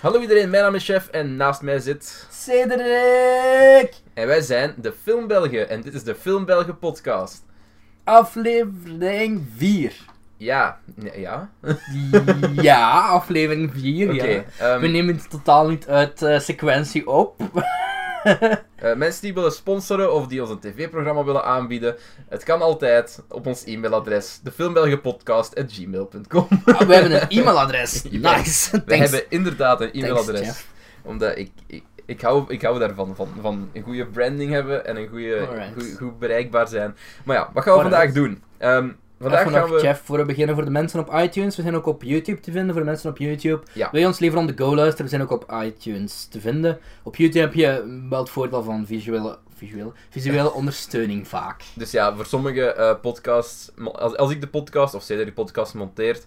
Hallo iedereen, mijn naam is Chef en naast mij zit... Cedric! En wij zijn de Film Belgen en dit is de Film Belgen podcast. Aflevering 4. Ja, nee, ja. Ja, aflevering 4, ja. ehm, We nemen het totaal niet uit eh, sequentie op. Ah, eh, mensen die willen sponsoren of die ons een tv-programma willen aanbieden, het kan altijd op ons e-mailadres, defilmbelgenpodcast.gmail.com. Ah, we hebben een e-mailadres. Ja. Nice. We Thanks. hebben inderdaad een e-mailadres. Jeff. Omdat ik, ik, ik, hou, ik hou daarvan, van, van een goede branding hebben en een goede, Alright. goed, goed bereikbaar zijn. Maar ja, wat gaan we vandaag Alright. doen? Ehm, vandaag Even gaan nog, we... Jeff, voor we beginnen voor de mensen op iTunes. We zijn ook op YouTube te vinden voor de mensen op YouTube. Ja. Wil je ons liever on the go luisteren? We zijn ook op iTunes te vinden. Op YouTube heb je wel het voordeel van visuele, visuele, visuele ondersteuning vaak. Dus ja, voor sommige eh, podcasts, mo- als, als ik de podcast of Cedric de podcast monteert,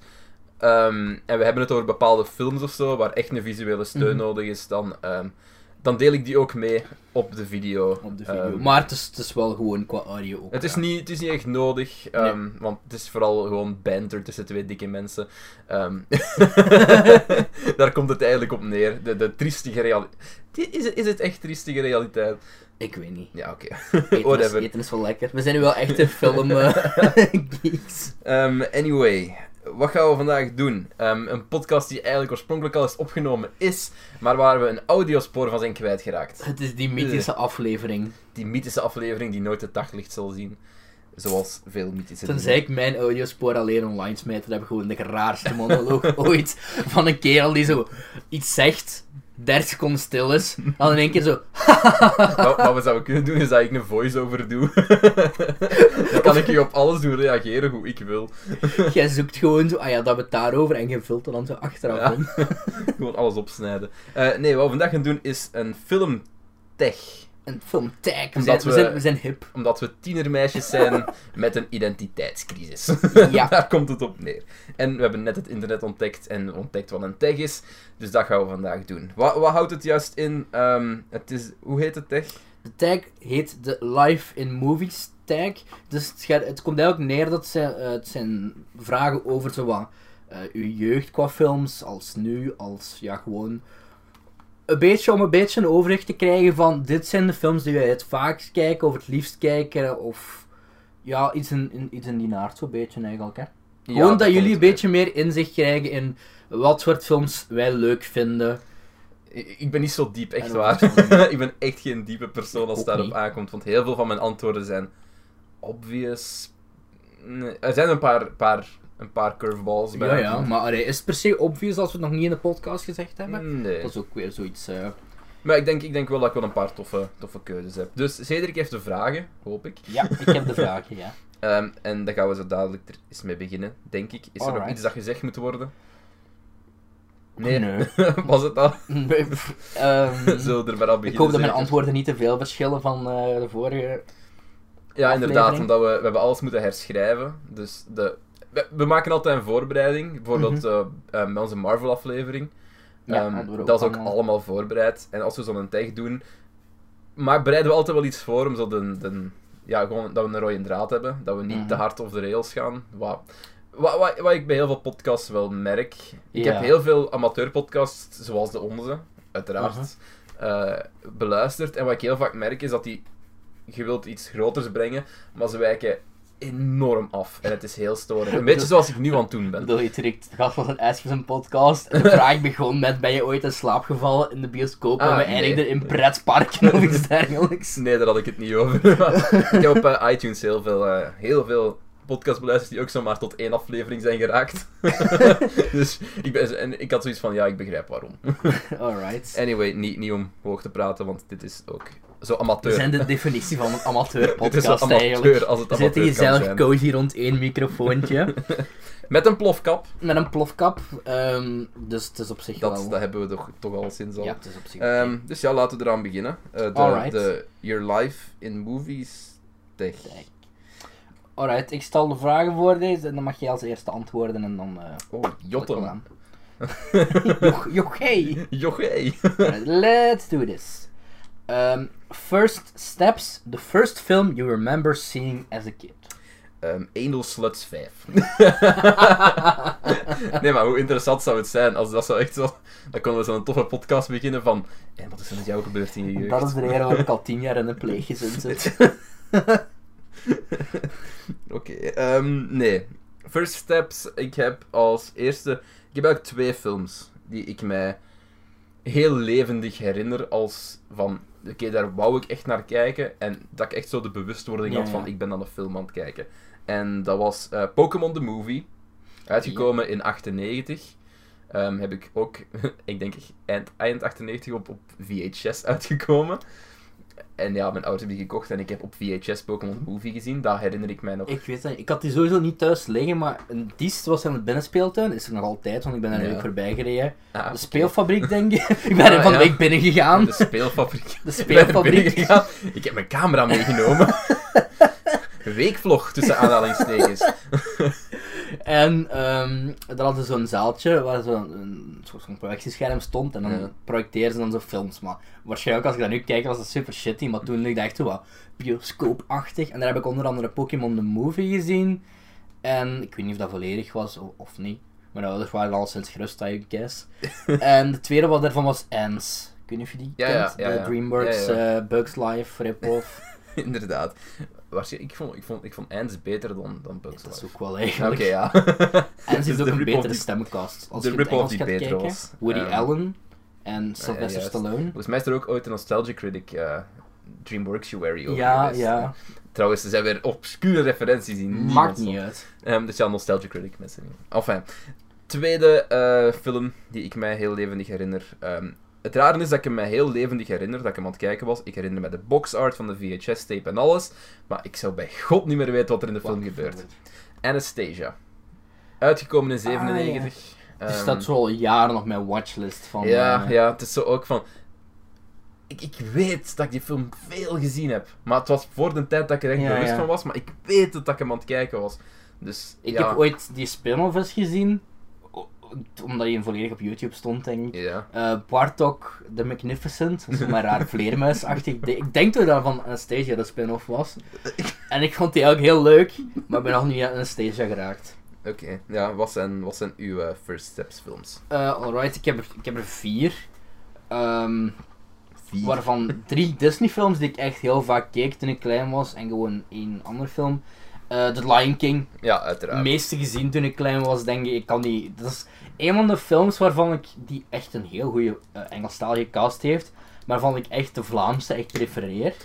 ehm, en we hebben het over bepaalde films of zo, waar echt een visuele steun Mhm. nodig is, dan, ehm, dan deel ik die ook mee op de video. Op de video. Ehm, maar het is, het is wel gewoon qua audio ook. het, is ja. niet, het is niet echt nodig, ehm, want het is vooral gewoon banter tussen twee dikke mensen. Ehm, daar komt het eigenlijk op neer. De, de triestige realiteit. Is het, is het echt triestige realiteit? Ik weet niet. Ja, oké. Eten is, Whatever. eten is wel lekker. We zijn nu wel echte film eh, geeks. Ehm, anyway, wat gaan we vandaag doen? Ehm, een podcast die eigenlijk oorspronkelijk al is opgenomen is, maar waar we een audiospoor van zijn kwijtgeraakt. Het is die mythische aflevering. Die mythische aflevering die nooit het daglicht zal zien. Zoals veel mythische Tenzij ik mijn audiospoor alleen online smijt, dan heb ik gewoon de raarste monoloog ooit van een kerel die zo iets zegt, 30 seconden stil is, en dan in één keer zo... dingen. Wat, wat we zouden kunnen doen, is dat ik een voice-over doe. Dan kan ik je op alles doen reageren hoe ik wil. Jij zoekt gewoon zo, ah ja, dat we het daarover, en je vult er dan zo achteraf Ja. in. Gewoon alles opsnijden. Eh, nee, wat we vandaag gaan doen is een filmtech. Een film, tag, we, Omdat zijn, we... we- zijn, we zijn hip. Omdat we tienermeisjes zijn met een identiteitscrisis. Ja. Daar komt het op neer. En we hebben net het internet ontdekt en ontdekt wat een tech is. Dus dat gaan we vandaag doen. Wat, wat houdt het juist in? Ehm, het is, hoe heet het tech? De tag heet de Live in Movies tag. Dus het, gaat- het komt eigenlijk neer dat zijn, eh, het zijn vragen over zo wat, eh, uw jeugd qua films, als nu, als ja gewoon. Een beetje om een beetje een overzicht te krijgen van dit zijn de films die wij het vaakst kijken of het liefst kijken of ja, iets in, in, iets in die naart zo'n beetje eigenlijk. Hè? Ja, gewoon dat, komt jullie een neer. beetje meer inzicht krijgen in wat soort films wij leuk vinden. Ik ik ben niet zo diep, echt En waar. over het ik ben echt geen diepe persoon als het Ook daarop niet. aankomt. Want heel veel van mijn antwoorden zijn obvious. Nee, er zijn een paar, paar, een paar curveballs bij. Ja, ja, maar allee, is het per se obvious als we het nog niet in de podcast gezegd hebben? Nee. Dat is ook weer zoiets. eh, Maar ik denk, ik denk wel dat ik wel een paar toffe, toffe keuzes heb. Dus Cedric heeft de vragen, hoop ik. Ja, ik heb de vraag, ja. Ehm, en daar gaan we zo dadelijk er eens mee beginnen, denk ik. Is er nog Alright. iets dat gezegd moet worden? Nee. Nee. Was het al? Ehm, Zullen we er maar al beginnen? Mhm. ik hoop dat mijn zeker? antwoorden niet te veel verschillen van eh, de vorige. Ja, inderdaad. aflevering- Omdat we, we hebben alles moeten herschrijven. Dus de... we, we maken altijd een voorbereiding. Mhm. Bijvoorbeeld eh eh, bij onze Marvel-aflevering. Ja, Ehm, hadden we er ook dat is ook allemaal. allemaal voorbereid. En als we zo'n tag doen, maar bereiden we altijd wel iets voor om zo de, de, ja, gewoon dat we een rode draad hebben. Dat we niet Mhm. te hard over de rails gaan. Wat, wat, wat, wat ik bij heel veel podcasts wel merk. Ik Ja. heb heel veel amateurpodcasts, zoals de onze, uiteraard, Mhm. eh, beluisterd. En wat ik heel vaak merk is dat die, je wilt iets groters brengen, maar ze wijken enorm af. En het is heel storend. Een beetje zoals ik nu aan het doen Ik ben. bedoel, je trekt het gast was een S voor zijn podcast. En de vraag begon met: ben je ooit in slaap gevallen in de bioscoop? Ah, en we nee. eindigden in pretparken of iets dergelijks. Nee, daar had ik het niet over. Maar ik heb op eh, iTunes heel veel, eh, heel veel podcasts beluisterd die ook zomaar tot één aflevering zijn geraakt. dus ik, ben, en ik had zoiets van, ja, ik begrijp waarom. Alright. Anyway, niet, niet om hoog te praten, want dit is ook zo We amateur. zijn de definitie van een dit is zo amateurpodcast eigenlijk. amateur als het We zitten amateur hier kan zelf zijn. cozy rond één microfoontje. Met een plofkap. met een plofkap. ehm, dus het is op zich Dat, wel. dat hebben we toch, toch al sinds al. ja, het is op zich. wel. Ehm, dus ja, laten we eraan beginnen. Eh, de, Alright. de Your Life in Movies tech. Kijk. Alright, ik stel de vragen voor deze en dan mag jij als eerste antwoorden en dan. eh Oh, Jotten. Joch, joch, hey. Joché. Alright, let's do this. Um, Ehm, first Steps, the first film you remember seeing as a kid. ehm Anal Sluts 5. nee, maar hoe interessant zou het zijn als dat zou echt zo... Dan konden we zo'n toffe podcast beginnen van... En wat is er met jou gebeurd in je jeugd? Dat is de reden waarom ik al tien jaar in een pleeggezin zit. Oké, ehm, nee. First Steps, ik heb als eerste... Ik heb eigenlijk twee films die ik mij heel levendig herinner als van... Oké, daar wou ik echt naar kijken. En dat ik echt zo de bewustwording Ja, had van... ja. Ik ben aan een film aan het kijken. En dat was eh, Pokémon The Movie. Uitgekomen in 98. Ehm, heb ik ook, ik denk eind, eind 98 op, op VHS uitgekomen. En ja, mijn ouders hebben die gekocht en ik heb op VHS Pokémon The Movie gezien. Dat herinner ik mij nog. Ik weet dat niet. Ik had die sowieso niet thuis liggen, maar een diest was in het binnenspeeltuin. Is er nog altijd, want ik ben daar Ja. leuk voorbij gereden. Ah, De speelfabriek, denk ik. ik ben er van de ja. week binnen gegaan. De speelfabriek. De Ik ben speelfabriek. er binnen gegaan. Ik heb mijn camera meegenomen. Weekvlog tussen aanhalingstekens. En ehm daar hadden ze zo'n zaaltje waar zo'n een soort van projectiescherm stond en dan Ja. projecteerden ze dan zo films. Maar waarschijnlijk als ik dat nu kijk was dat super shitty, maar toen ik echt zo wat bioscoopachtig. En daar heb ik onder andere Pokémon The Movie gezien. En ik weet niet of dat volledig was o- of niet. Mijn ouders waren al sinds gerust, I guess. en de tweede wat daarvan was Ants. Ik weet niet of je die Ja, kent. ja, ja, de ja. DreamWorks Ja, eh, Bugs Life rip-off. Inderdaad. Waarschijnlijk, ik vond, ik vond, ik vond Ends beter dan, dan Bugs dat is Life. ook wel Oké, eigenlijk. ja. En ze Dus heeft ook de een rip-off betere die- stemcast. Als de je het rip-off Engels die gaat beter kijken, was. Woody Ehm, Allen en Sylvester juist. Stallone. Volgens mij is er ook ooit een Nostalgia Critic eh Dreamworks Uary over Ja, geweest. ja. Trouwens, er zijn weer obscure referenties die niemand Maakt snapt. niet uit. Ehm, dus ja, Nostalgia Critic, mensen. Enfin, tweede eh, film die ik mij heel levendig herinner. Ehm, het rare is dat ik hem mij heel levendig herinner, dat ik hem aan het kijken was. Ik herinner me de boxart van de VHS-tape en alles, maar ik zou bij god niet meer weten wat er in de film gebeurt. Anastasia. Uitgekomen in 97. Ah, Het Ehm, staat zo al jaren op mijn watchlist van... ja, eh, ja, het is zo ook van... Ik, ik weet dat ik die film veel gezien heb. Maar het was voor de tijd dat ik er echt Ja, bewust ja. van was. Maar ik weet het dat ik hem aan het kijken was. Dus Ik ja. heb ooit die spin-off eens gezien, o- omdat hij volledig op YouTube stond, denk ik. Ja. Eh, Bartok the Magnificent, dat is zo'n raar vleermuisachtig ding. Ik denk dat dat van Anastasia de spin-off was. En ik vond die ook heel leuk, maar ben nog niet aan Anastasia geraakt. Oké. Ja, wat zijn, wat zijn uw eh, First Steps films? Eh, alright, ik heb er, ik heb er vier. Ehm, Vier. Waarvan drie Disney-films die ik echt heel vaak keek toen ik klein was. En gewoon één ander film. Eh The Lion King. Ja, Het uiteraard. meeste gezien toen ik klein was, denk ik. Ik kan die... Dat is een van de films waarvan ik... Die echt een heel goede eh Engelstalige cast heeft. Maar waarvan ik echt de Vlaamse echt prefereer.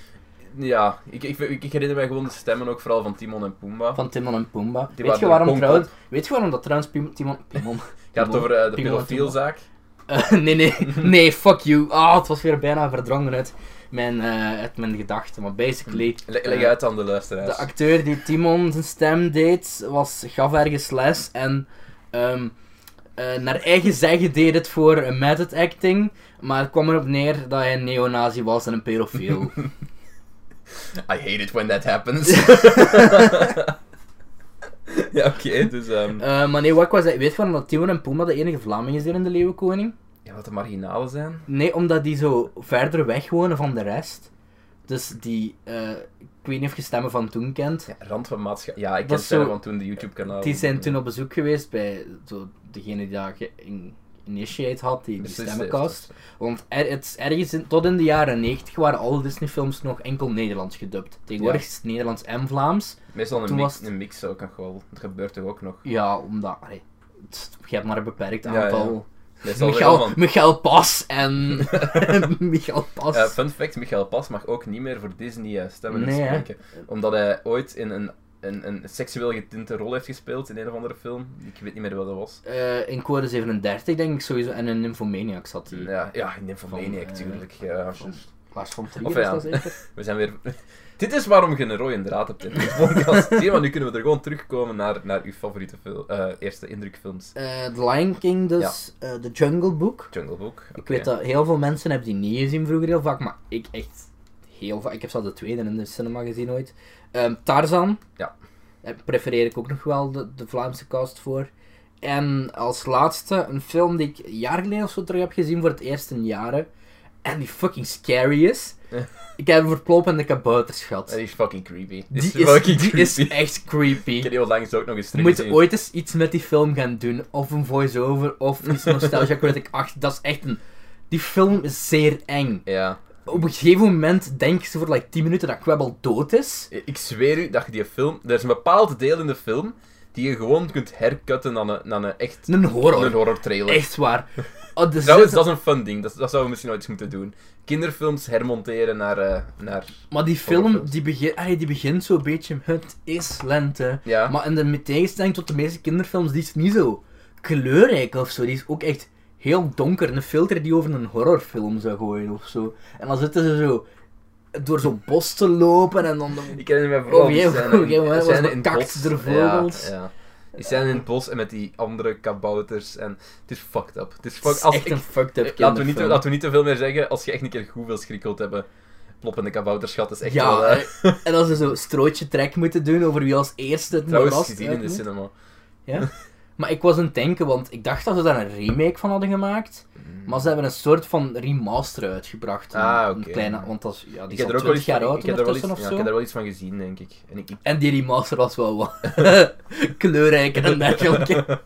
Ja, ik, ik, ik, ik herinner mij gewoon de stemmen ook vooral van Timon en Pumbaa. Van Timon en Pumbaa. Die Weet je, waren waarom er trouwens, weet je waarom dat trouwens Pim- Timon... Timon... Gaat het over eh, de Timon en pedofielzaak? Eh, nee, nee, nee, fuck you. Ah, het was weer bijna verdrongen uit mijn, eh, uit mijn gedachten. Maar basically... Le- eh, leg uit aan de luisteraars. De acteur die Timon zijn stem deed, was, gaf ergens les en ehm, eh, naar eigen zeggen deed het voor eh, method acting, maar het kwam erop neer dat hij een neonazi was en een pedofiel. I hate it when that happens. ja, oké, dus... ehm, Eh, maar nee, wat ik was, weet je waarom dat Timon en Puma de enige Vlamingen zijn in de Leeuwenkoning? Ja, wat de marginalen zijn. Nee, omdat die zo verder weg wonen van de rest. Dus die, eh, ik weet niet of je stemmen van toen kent. Ja, rand van maatschappij. Ja, ik Dat ken is Sarah zo- van toen de YouTube-kanaal. Die zijn toen op bezoek geweest bij zo, degene die daar geïnitieerd had, die, die stemmenkast. Want er, het is ergens in- tot in de jaren 90 waren alle Disney-films nog enkel Nederlands gedubt. Tegenwoordig Ja. is het Nederlands en Vlaams. Meestal een Toen mix, was het- een mix ook nog wel. Dat gebeurt toch ook nog. Ja, omdat. allee, het- je hebt maar een beperkt Ja, ja. aantal. Dus Meestal weer Michael, allemaal- Michael Pas en. Michael Pas. Eh, fun fact, Michael Pas mag ook niet meer voor Disney eh, stemmen en Nee, hè? spreken. Omdat hij ooit in een, een, een seksueel getinte rol heeft gespeeld in een of andere film. Ik weet niet meer wat dat was. Eh, in code 37 denk ik sowieso. En in Nymphomaniac zat hij. Ja, ja in Nymphomaniac, Van, eh, tuurlijk. Ja. van- Lars van Trier Of is ja. dat zeker? We zijn weer... Dit is waarom je een rode draad hebt in deze podcast. Zie je, maar nu kunnen we er gewoon terugkomen naar, naar uw favoriete fil- eh, eerste indrukfilms. Eh, The Lion King dus. eh, The Jungle Book. Jungle Book. oké. Ik weet dat heel veel mensen hebben die niet gezien vroeger heel vaak, maar ik echt heel vaak. Ik heb zelfs de tweede in de cinema gezien ooit. Ehm, Tarzan. Ja. Daar prefereer ik ook nog wel de, de Vlaamse cast voor. En als laatste een film die ik een jaar geleden of zo terug heb gezien voor het eerst in jaren. En die fucking scary is. Ik heb over het plopen en de kabouters gehad. Eh, Die is fucking creepy. Die is, fucking die creepy. is echt Ik creepy. heb heel langs ook nog eens Je terug moet ooit eens iets met die film gaan doen. Of een voice-over, of iets Nostalgia Critic 8. Dat is echt een... Die film is zeer eng. Ja. Op een gegeven moment denken ze voor like 10 minuten dat Quebble dood is. Ik zweer u dat je die film... Er is een bepaald deel in de film die je gewoon kunt hercutten naar een, naar een echt... Een horror. Een horror trailer. Echt waar. Oh, de Trouwens, zitten- dat is een fun ding. Dat, dat zouden we misschien ooit eens moeten doen. Kinderfilms hermonteren naar... eh, naar... Maar die film Horrorfilms. die, begin, allee, die begint zo'n beetje met het is lente. Ja. Maar in de met tegenstelling tot de meeste kinderfilms, die is niet zo kleurrijk of zo. Die is ook echt heel donker. Een filter die over een horrorfilm zou gooien of zo. En dan zitten ze zo door zo'n bos te lopen en dan. Ik herinner me vooral Oh, die jij- scène, oh, jij die was scène met in het kakt bos. door vogels. Ja, ja. Die scène in het bos en met die andere kabouters. En het is fucked up. Het is Het fuck, is als echt ik, Eh, een fucked up laten, we niet, kinderfilm. laten we niet te veel meer zeggen. Als je echt een keer goed wil schrikkeld hebben, ploppende kabouters gaat, is echt ja, wel... eh, hè. en als ze zo strootje trek moeten doen over wie als eerste het trouwens, moeras gezien in de uitmoet. cinema. Maar ik was aan het denken, want ik dacht dat ze daar een remake van hadden gemaakt. Maar ze hebben een soort van remaster uitgebracht. Een- Ah, Een oké. kleine, want dat is, ja, die Ik is heb er al ook wel 20 iets jaar van, oud ik heb er wel iets, ondertussen ja, ik of zo. heb er wel iets van gezien, denk ik. En ik, ik- En die remaster was wel wat kleurrijker en dergelijke.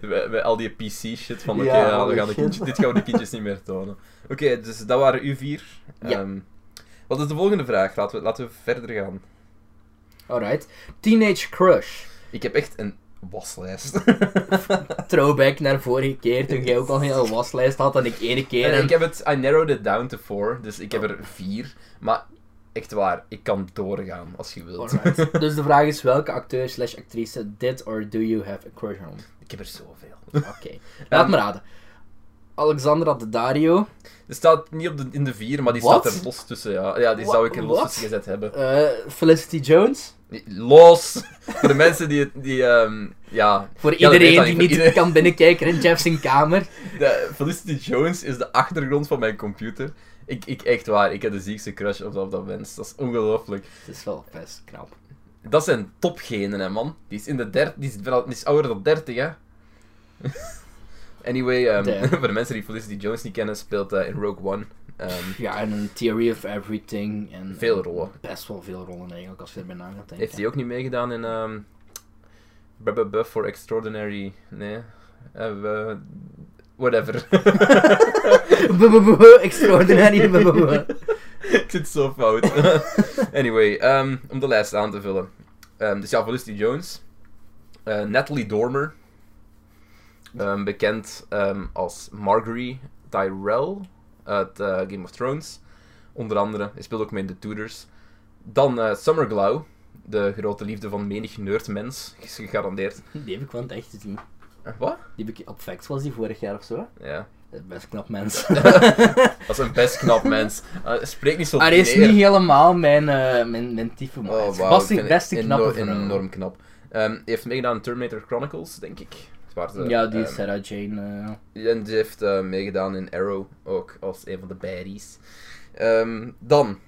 bij, bij al die PC-shit van, oké, Ja, ja, we holy gaan de shit. kindjes- dit gaan we de kindjes niet meer tonen. Oké, dus dat waren u vier. Ja. Ehm, wat is de volgende vraag? Laten we, laten we verder gaan. Alright. Teenage Crush. Ik heb echt een waslijst. Throwback naar vorige keer, toen jij ook al een hele waslijst had en ik ene keer. En En... ik heb het, I narrowed it down to four, dus ik heb er vier. Maar echt waar, ik kan doorgaan als je wilt. Alright. Dus de vraag is welke acteur slash actrice did or do you have a crush on? Ik heb er zoveel. Oké. Laat me raden. Alexandra Daddario. Die staat niet op de, in de vier, maar die Wat? staat er los tussen. Ja, ja die Wa- zou ik er los wat? tussen gezet hebben. eh Felicity Jones. Los! Voor de mensen die het, die, ehm, ja... Voor Ja, dat weet iedereen dat die niet, niet voor iedereen. kan binnenkijken in Jeff zijn kamer. De, Felicity Jones is de achtergrond van mijn computer. Ik, ik echt waar, ik heb de ziekste crush op dat, op dat mens. Dat is ongelooflijk. Het is wel best knap. Dat zijn topgenen, hè, man. Die is in de der, die is, wel- die is ouder dan 30, hè. anyway, ehm, Damn. voor de mensen die Felicity Jones niet kennen, speelt eh, in Rogue One. Ehm, Ja, en een Theory of Everything. En, Veel rollen. Best wel veel rollen eigenlijk, als je erbij na gaat denken. heeft hij ook niet meegedaan in... ehm Bubba Buff for Extraordinary... Nee. Eh, we- whatever. Buh-buh-buh, Extraordinary. buh-buh-buh. Ik zit zo fout. anyway, ehm, om de lijst aan te vullen. Ehm, dus ja, Felicity Jones. Eh, Natalie Dormer. Ehm, bekend ehm, als Marguerite Tyrell uit eh, Game of Thrones. Onder andere. Hij speelt ook mee in The Tudors. Dan eh, Summer Glau. De grote liefde van menig nerdmens. Is gegarandeerd. Die heb ik wel in het echt gezien. Eh, Wat? Die heb ik op Facts was die vorig jaar of zo. hè. Ja. Dat is Best knap mens. Dat is een best knap mens. Eh, spreek niet zo Maar hij Ah, is neer. niet helemaal mijn, eh mijn, mijn type, maar Oh, het is wauw, best ik een vind best een het knappe enorm, vrouw. enorm knap. Ehm, hij heeft meegedaan in Terminator Chronicles, denk ik. Het waren ze, Ja, die ehm, Sarah Jane. eh, En die heeft eh, meegedaan in Arrow, ook als een van de baddies. Ehm, dan,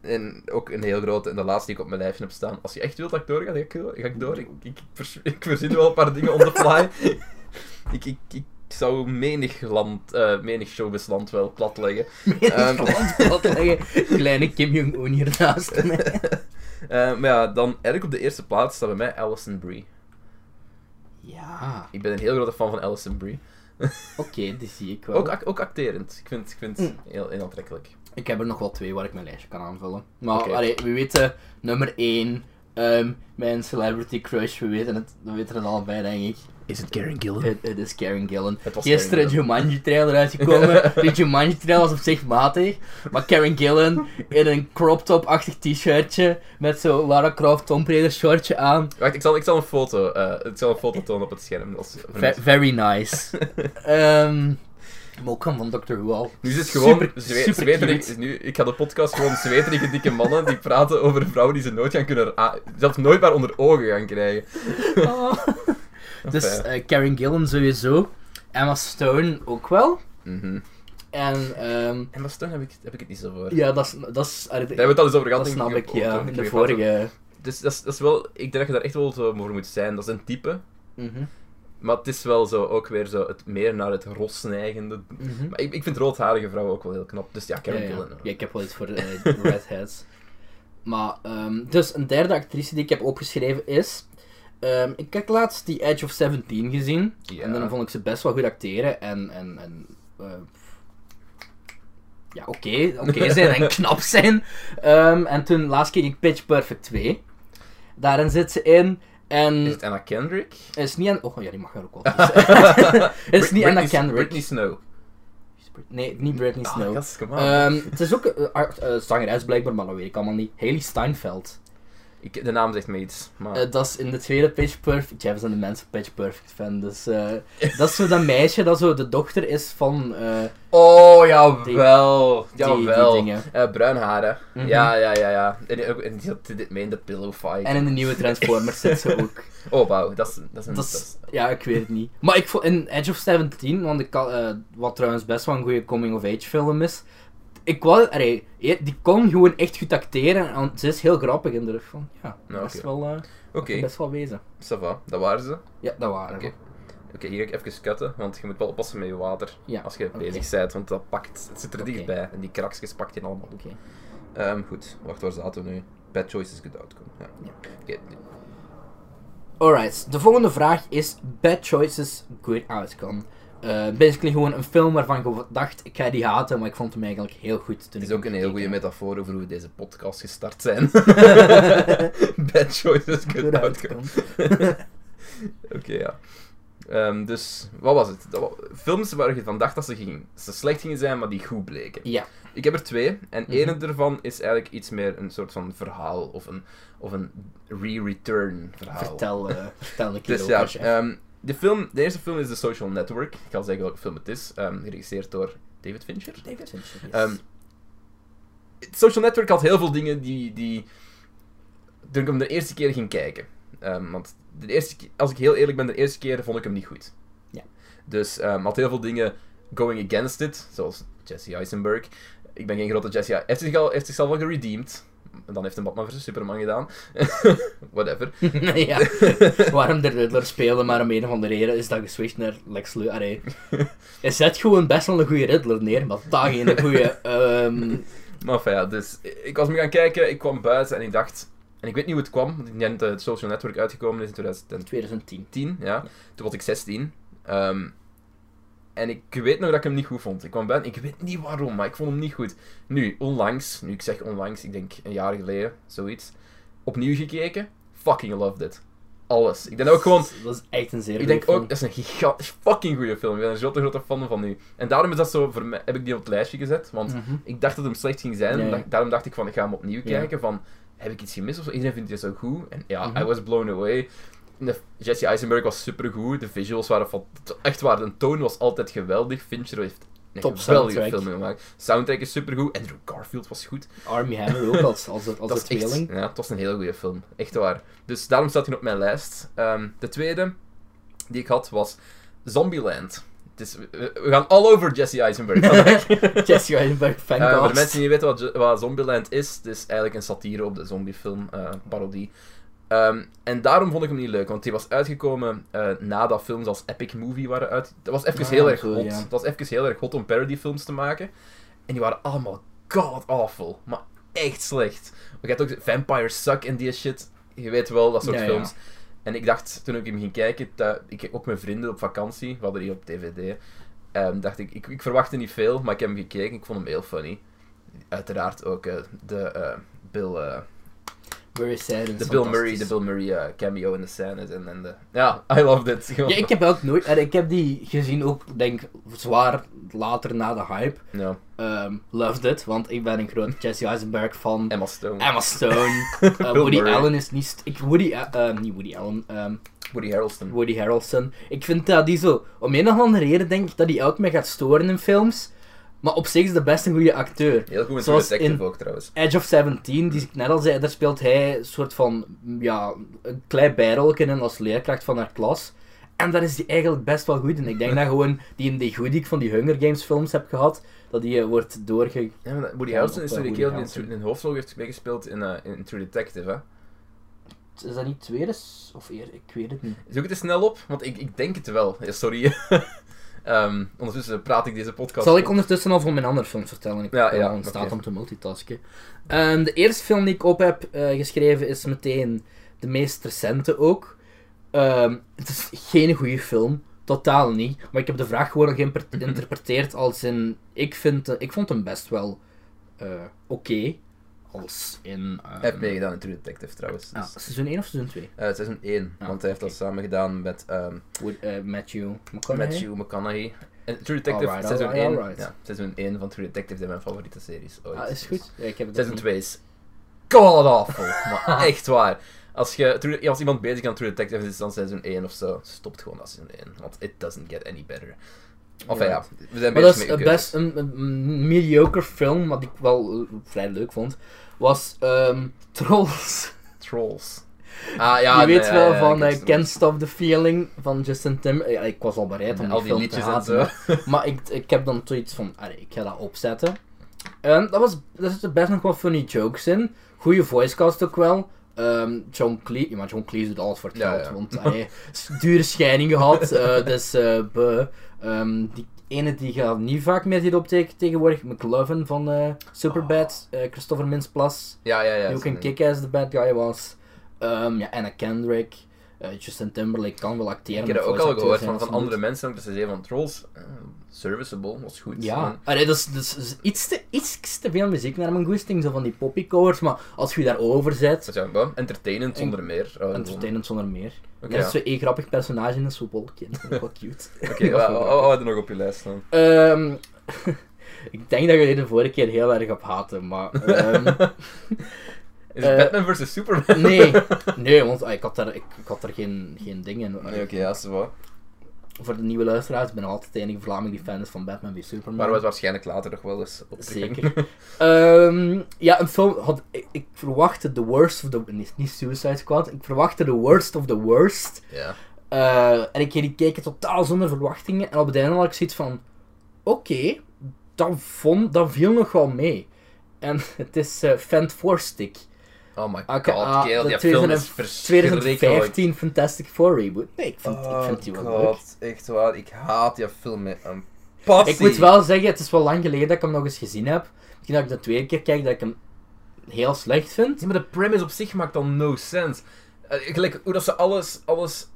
en ook een heel grote, en de laatste die ik op mijn lijstje heb staan. Als je echt wilt dat ik doorga, dan ga ik door. Ga ik, door. Ik, ik, vers- ik verzin wel een paar dingen on the fly. ik, ik, ik zou menig, land, eh, menig showbiz land wel platleggen. Ehm. Um, Kleine Kim Jong-un hiernaast. Eh, maar ja, dan eigenlijk op de eerste plaats staat bij mij Alison Brie. Ja, Ik ben een heel grote fan van Alison Brie. oké, die zie ik wel. Ook, ac- ook acterend. Ik vind, ik vind het Mm. heel, heel aantrekkelijk. ik heb er nog wel twee waar ik mijn lijstje kan aanvullen. Maar Oké. allee, we weten, nummer 1, ehm mijn celebrity crush, we weten het, we weten het allebei, denk ik. Is het Karen Gillan? Het, het is Karen Gillan. Het was Gisteren Karen Gillan. Jumanji trailer uitgekomen. De Jumanji trailer was op zich matig. Maar Karen Gillan in een crop top-achtig t-shirtje. Met zo Lara Croft Tomb Raider shortje aan. Wacht, ik zal, ik zal een foto, eh, ik zal een foto tonen op het scherm. Als, voor Ve- mensen. very nice. Ehm maar ook gewoon van Dr. Who al. nu is het gewoon super- zwe- super zweterige- cute. nu, ik ga de podcast gewoon zweterige dikke mannen die praten over vrouwen die ze nooit gaan kunnen... ra- zelfs nooit maar onder ogen gaan krijgen. Oh. Dus Enfin. eh, Karen Gillan sowieso. Emma Stone ook wel. Mhm. En ehm, En dat steun heb ik, heb ik het niet zo voor. ja, dat is... Dat is eh, Daar hebben we het al eens over gehad. dat denk snap ik, op- ja. op- In de op- vorige... Dus dat is, dat is wel... Ik denk dat je daar echt wel zo voor moet zijn. Dat is een type. Mhm. Maar het is wel zo, ook weer zo, het meer naar het rosneigende. Mhm. Maar ik, ik vind roodharige vrouwen ook wel heel knap. Dus ja, Karen ja, ja. Gillan. Ja, ik heb wel iets voor eh, redheads. Maar, ehm, dus een derde actrice die ik heb opgeschreven is... ehm, ik heb laatst die Edge of 17 gezien. Ja. En dan vond ik ze best wel goed acteren. En, en, en eh, ja, oké. oké zijn en knap zijn. Ehm, en toen laatst keek ik Pitch Perfect 2. Daarin zit ze in. En Is het Anna Kendrick? is niet aan... Oh, ja, die mag er ook wel. tussen. is niet Anna Britney- Kendrick. Britney Snow. Nee, niet Britney Ah, Snow. gast, come on. Ehm, het is ook eh, art- eh, zangeres blijkbaar, maar dat weet ik allemaal niet. Haley Steinfeld. Ik, de naam zegt me iets. Maar... Eh, dat is in de tweede Pitch Perfect. Jij was een mensen Pitch Perfect fan, dus... eh, dat is zo dat meisje dat zo de dochter is van... eh, oh, jawel. die, jawel. die dingen. Eh, bruin haren. Mhm. Ja, ja, ja, ja. En, ook- en die had dit mee in de pillow fight. En in de nieuwe Transformers zit ze ook. Oh, wauw. Dat is, dat is een... Dat dat is, ja, ik weet het niet. Maar ik vond in Edge of 17, want ik kan- eh, wat trouwens best wel een goede coming-of-age film is. Ik wou, allee, e- die kon gewoon echt goed acteren en ze is heel grappig in de rug van. Ja, Nou, best, oké. wel, eh, Oké, best wel wezen. ça va. Dat waren ze. Oké, Ja, dat waren Oké. hier ga ik even cutten, want je moet wel oppassen met je water. Ja, Als je oké. bezig bent, want dat pakt... Het zit er Oké. dichtbij. En die kraksjes pakt je allemaal op. Oké. Ehm, goed, wacht, waar zaten we nu? Bad choices good outcome. Ja. Ja. Oké, Alright, de volgende vraag is Bad Choices, Good Outcome. Eh, basically gewoon een film waarvan ik dacht, ik ga die haten, maar ik vond hem eigenlijk heel goed. Toen Het is ik ook hem een heel gekeken goede heb. metafoor over hoe we deze podcast gestart zijn. Bad choices, good Good outcome. Oké, ja. Ehm, dus, wat was het? Dat wa- films waar je van dacht dat ze, gingen, ze slecht gingen zijn, maar die goed bleken. Ja, Ik heb er twee. En Mhm. één ervan is eigenlijk iets meer een soort van verhaal. Of een, of een re-return verhaal. vertel, eh, vertel een keer Dus over, ja, chef. ehm, de, film, de eerste film is The Social Network. Ik ga zeggen welke film het is. ehm, geregisseerd door David Fincher. David Fincher, yes. Ehm, het Social Network had heel veel dingen die, die toen ik hem de eerste keer ging kijken. Ehm, want de eerste, ke- als ik heel eerlijk ben, de eerste keer vond ik hem niet goed. Ja. Dus ehm had heel veel dingen going against it, zoals Jesse Eisenberg. Ik ben geen grote Jesse Hij heeft zich al- heeft zichzelf al geredeemd. Dan heeft hij Batman vs Superman gedaan. Whatever. ja, waarom de Riddler spelen, maar om een van de redenen is dat geswitcht naar Lex Luthor. Allee, Hij zet gewoon best wel een goede Riddler neer, maar daar geen goede... ehm Maar enfin, ja, dus ik was me gaan kijken, ik kwam buiten en ik dacht... En ik weet niet hoe het kwam, want ik denk dat het Social Network uitgekomen is in 2010. 2010. 10, ja. Toen was ik 16. Ehm, en ik weet nog dat ik hem niet goed vond. Ik kwam buiten, ik weet niet waarom, maar ik vond hem niet goed. Nu, onlangs, nu ik zeg onlangs, ik denk een jaar geleden, zoiets. Opnieuw gekeken, fucking loved it. Alles. Ik denk ook gewoon, Dat is echt een zeer ik goede denk film. ook, dat is een gigantisch fucking goede film. Ik ben er zo'n grote fan van nu. En daarom is dat zo, voor mij, heb ik die op het lijstje gezet, want Mhm. ik dacht dat hem slecht ging zijn, Ja, ja. da- daarom dacht ik van, ik ga hem opnieuw Ja. kijken, van, heb ik iets gemist of zo? Iedereen vindt dit zo goed. En ja, Mhm. I was blown away. De, Jesse Eisenberg was supergoed, de visuals waren van, echt waar, de toon was altijd geweldig. Fincher heeft een Top geweldige soundtrack. film gemaakt. Soundtrack is supergoed, Andrew Garfield was goed. Army Hammer ook als, als, als, Dat als is echt- tweeling. ja, het was een hele goede film, echt waar. Dus daarom staat hij op mijn lijst. Ehm, de tweede die ik had was Zombieland. Het is, we, we- we gaan all over Jesse Eisenberg vandaag. Jesse Eisenberg Eh, voor fancast. de mensen die niet weten wat, Jo- wat Zombieland is, het is eigenlijk een satire op de zombiefilm, eh parodie. Ehm, en daarom vond ik hem niet leuk, want die was uitgekomen eh, nadat films als Epic Movie waren uit. Dat was even Ah, heel erg zo, hot. ja. Het was even heel erg hot om parodyfilms te maken. En die waren allemaal god-awful, maar echt slecht. Je hebt ook Vampire Suck en die shit. Je weet wel, dat soort Ja, ja. films. En ik dacht, toen ik hem ging kijken, dat, ik keek ook mijn vrienden op vakantie, we hadden die op DVD, ehm, dacht ik, ik, ik verwachtte niet veel, maar ik heb hem gekeken, ik vond hem heel funny. Uiteraard ook eh, de, eh, Bill, eh, Murray Sadin is de Bill Murray, fantastisch. de Bill Murray eh, cameo in de scènes en, en de... Ja, I loved it. Gewoon. Ja, ik heb ook nooit... en Ik heb die gezien ook, denk zwaar later na de hype. Ja, Ehm, loved it, want ik ben een groot Jesse Eisenberg fan. Emma Stone. Emma Stone. eh, Bill Woody Murray. Allen is niet... st- Ik, Woody... eh, eh, niet Woody Allen. ehm, Woody Harrelson. Woody Harrelson. Ik vind dat die zo... Om een of andere reden denk ik dat hij elk mij gaat storen in films. Maar op zich is de best een goede acteur. Heel goed in True Zoals Detective in- ook, trouwens. Edge of 17, die ik net al zei, daar speelt hij een soort van, ja, een klein bijrolken in als leerkracht van haar klas. En daar is hij eigenlijk best wel goed in. Ik denk dat gewoon die in die goed die ik van die Hunger Games films heb gehad, dat die eh, wordt doorge... Ja, maar Woody Ja, Harrelson of, is eh, natuurlijk Woody heel die in, Harrelson. in de hoofdrol heeft meegespeeld in, eh, in True Detective, hè. is dat niet tweede s- of eer? Ik weet het niet. Zoek het eens snel op, want ik, ik denk het wel. Ja, sorry. Ehm, ondertussen praat ik deze podcast. Zal ik ondertussen al van mijn andere films vertellen? Ik Ja, ben ja, al in staat oké. om te multitasken. Ehm, de eerste film die ik op heb eh, geschreven is meteen de meest recente ook. Ehm, het is geen goede film. Totaal niet. Maar ik heb de vraag gewoon geïmper- geïnterpreteerd als in... Ik, vind, eh, ik vond hem best wel eh, oké. Als in... ehm, Hij heeft meegedaan in True Detective trouwens. ja, Dus, seizoen 1 of seizoen 2? eh, seizoen 1, Ah, want hij heeft dat oké. samen gedaan met, ehm With, eh, Matthew McConaughey? met Hugh McConaughey. En True Detective, Alright, seizoen, alright, 1, alright. Ja, seizoen 1 van True Detective zijn mijn favoriete series ooit. Dus Ah, is goed. Ja, ik heb het Seizoen ook niet. 2 is god awful. maar echt waar. Als, je, True- als iemand bezig aan True Detective is, dan seizoen 1 of zo. Stopt gewoon aan seizoen 1, want it doesn't get any better. Enfin ja, Ja. we zijn Maar dat bezig is met eh, uw best een, een- een mediocre film, wat ik wel eh, vrij leuk vond, was ehm, Trolls. Trolls. Ah, ja, je weet nee, wel ja, van ik eh, wist het Can't Stop the Feeling van Justin Timberlake. Ja, ik was al bereid En om die al die film liedjes te en haten, zo. Maar, maar ik, ik heb dan zoiets van, allee, ik ga dat opzetten. En dat was, daar zitten best nog wat funny jokes in. Goede voicecast ook wel. Ehm, John Cleese, ja, maar John Cleese doet alles voor het Ja, geld, ja. want allee, s- dure scheiding gehad. eh, dus eh, buh. Ehm, die ene die gaat niet vaak meer hierop tegen tegenwoordig, McLovin van eh, Superbad, Ah. eh, Christopher Mintz-Plas. Ja, ja, ja. Die ook zeker. in Kick-Ass de bad guy was. Ehm, ja, Anna Kendrick. eh, Justin Timberlake kan wel acteren. Ik heb dat maar ook al voice acteur gehoord zijn van, als van ze andere mensen, ook dat ze zeiden van Trolls, eh, serviceable, was goed. moet. Ja, En- Allee, dat is, dat is- dat is iets, te, iets te veel muziek naar mijn goesting, zo van die poppycovers, maar als je je daarover zet, Dus ja, wel, entertainend zonder meer. Oh, entertainend zonder meer. Oké, Net ja. als zo één grappig personage in een soepolkje, dat is wel cute. Oké, oh. wat wat- wat hadden we nog op je lijst dan? Ehm, ik denk dat jullie de vorige keer heel erg op haten, maar... ehm, Is Eh, het Batman vs Superman? nee, nee, want ah, ik had daar, ik, ik had daar geen, geen ding in. Nee, oké, ja, ze wel. voor de nieuwe luisteraars, ik ben nog altijd de enige Vlaming die fan is van Batman v Superman. Maar we het waarschijnlijk later nog wel eens op Zeker. Ehm, ja, een film had... Ik, ik verwachtte The Worst of the... Nee, niet Suicide Squad. Ik verwachtte The Worst of the Worst. ja. Eh, en ik die keek het totaal zonder verwachtingen. En op het einde had ik zoiets van... Oké, dan dat, dat viel nog wel mee. En het is eh Fant Four Stick. Oh my god, aka kerel, ah, de die film is 2000 verschrikkelijk. 2015 Fantastic Four reboot. Nee, ik vind, ik vind die Oh, wel leuk. echt waar, ik haat die film met een passie. Ik moet wel zeggen, het is wel lang geleden dat ik hem nog eens gezien heb. Misschien dat ik de tweede keer kijk dat ik hem heel slecht vind. Ja, maar de premise op zich maakt dan no sense. Eh, gelijk hoe dat ze alles, alles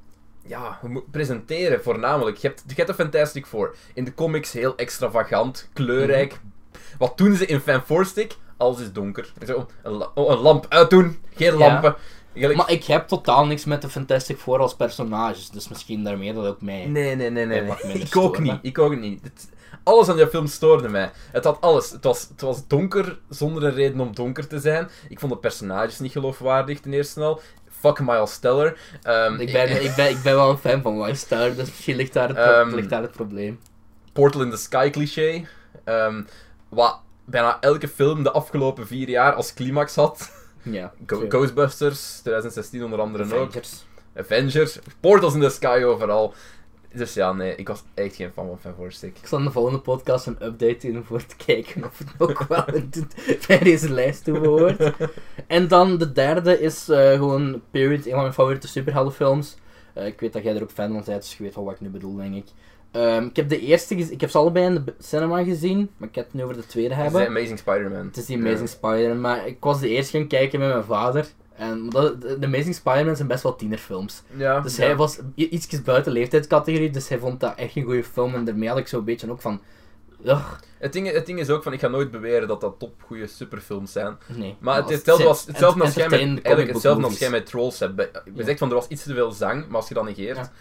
ja, hoe moet- presenteren, voornamelijk. Je hebt, je hebt de Fantastic Four. In de comics heel extravagant, kleurrijk. Mhm. Wat doen ze in Fan Four Stick? Alles is donker. Zo, oh, een, la- oh, een lamp uitdoen, geen Ja. lampen. Gelijk- Maar ik heb totaal niks met de Fantastic Four als personages, dus misschien daarmee dat ook mij... Nee, nee, nee, nee. Nee, mag nee. minder Ik ook storen, niet. Ik ook niet. Dit- alles aan die film stoorde mij. Het had alles. Het was, het was donker zonder een reden om donker te zijn. Ik vond de personages niet geloofwaardig ten eerste al. Fuck Miles Teller. Ehm, Ik ben, ik, ben, ik ben wel een fan van White Star, dus misschien ligt daar het, pro- Ehm. ligt daar het probleem. Portal in the Sky cliché. ehm, wat bijna elke film de afgelopen vier jaar als climax had. Ja. Go- Zo. Ghostbusters, 2016 onder andere ook. Avengers. Avengers. Portals in the Sky overal. Dus ja, nee, ik was echt geen fan van Fan Four Stick. Ik zal in de volgende podcast een update doen voor te kijken of het ook wel bij deze lijst toe behoort. En dan de derde is eh, gewoon Period, een van mijn favoriete superheldenfilms. Eh, ik weet dat jij er ook fan van bent, dus je weet wel wat ik nu bedoel, denk ik. Ehm, ik heb de eerste, gez- ik heb ze allebei in de b- cinema gezien, maar ik heb het nu over de tweede Het is hebben. de Amazing Spider-Man. Het is die Amazing Spider-Man, maar ik was de eerste gaan kijken met mijn vader. En dat, de de Amazing Spider-Man zijn best wel tienerfilms. Ja. Dus ja. hij was i- ietsjes buiten leeftijdscategorie, dus hij vond dat echt een goede film. En daarmee had ik zo'n beetje ook van... Ugh, Het ding, het ding is ook van, ik ga nooit beweren dat dat top goede superfilms zijn. nee. Maar het is was- hetzelfde zijn als hetzelfde als jij met, entertainende comic eigenlijk book hetzelfde als movies. jij met trolls hebt. Bij- Je Ja. zegt van er was iets te veel zang, maar als je dat negeert. Ja.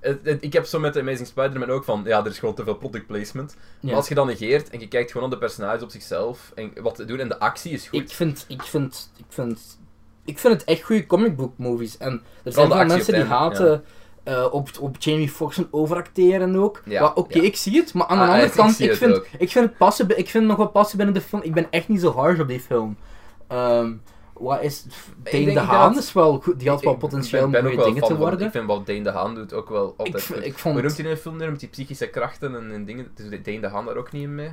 Het- het- ik heb zo met de Amazing Spider-Man ook van, ja, er is gewoon te veel product placement. Ja. Maar als je dat negeert en je kijkt gewoon naar de personages op zichzelf en wat ze doen en de actie is goed. Ik vind, ik vind, ik vind, ik vind het echt goede comic book movies. En er zijn de veel actie mensen op die het einde, haten eh, op, op Jamie Foxx en overacteren ook. Ja, maar oké, ja. ik zie het, maar aan de Ah, andere ik- ik kant, zie ik, het vind, ook. ik vind het passen, bi- ik vind het nog wel passen binnen de film. Ik ben echt niet zo hard op die film. Ehm, wat is, denk Dane de dat- Haan is wel goed, die had wel Ik- potentieel ik om ben ook goede wel dingen fan te van- worden. Ik vind wat Dane de Haan doet ook wel altijd v- goed. ik vond- Hoe noemt hij in een film nu met die psychische krachten en, en dingen? Dus Dane de Haan daar ook niet in mee?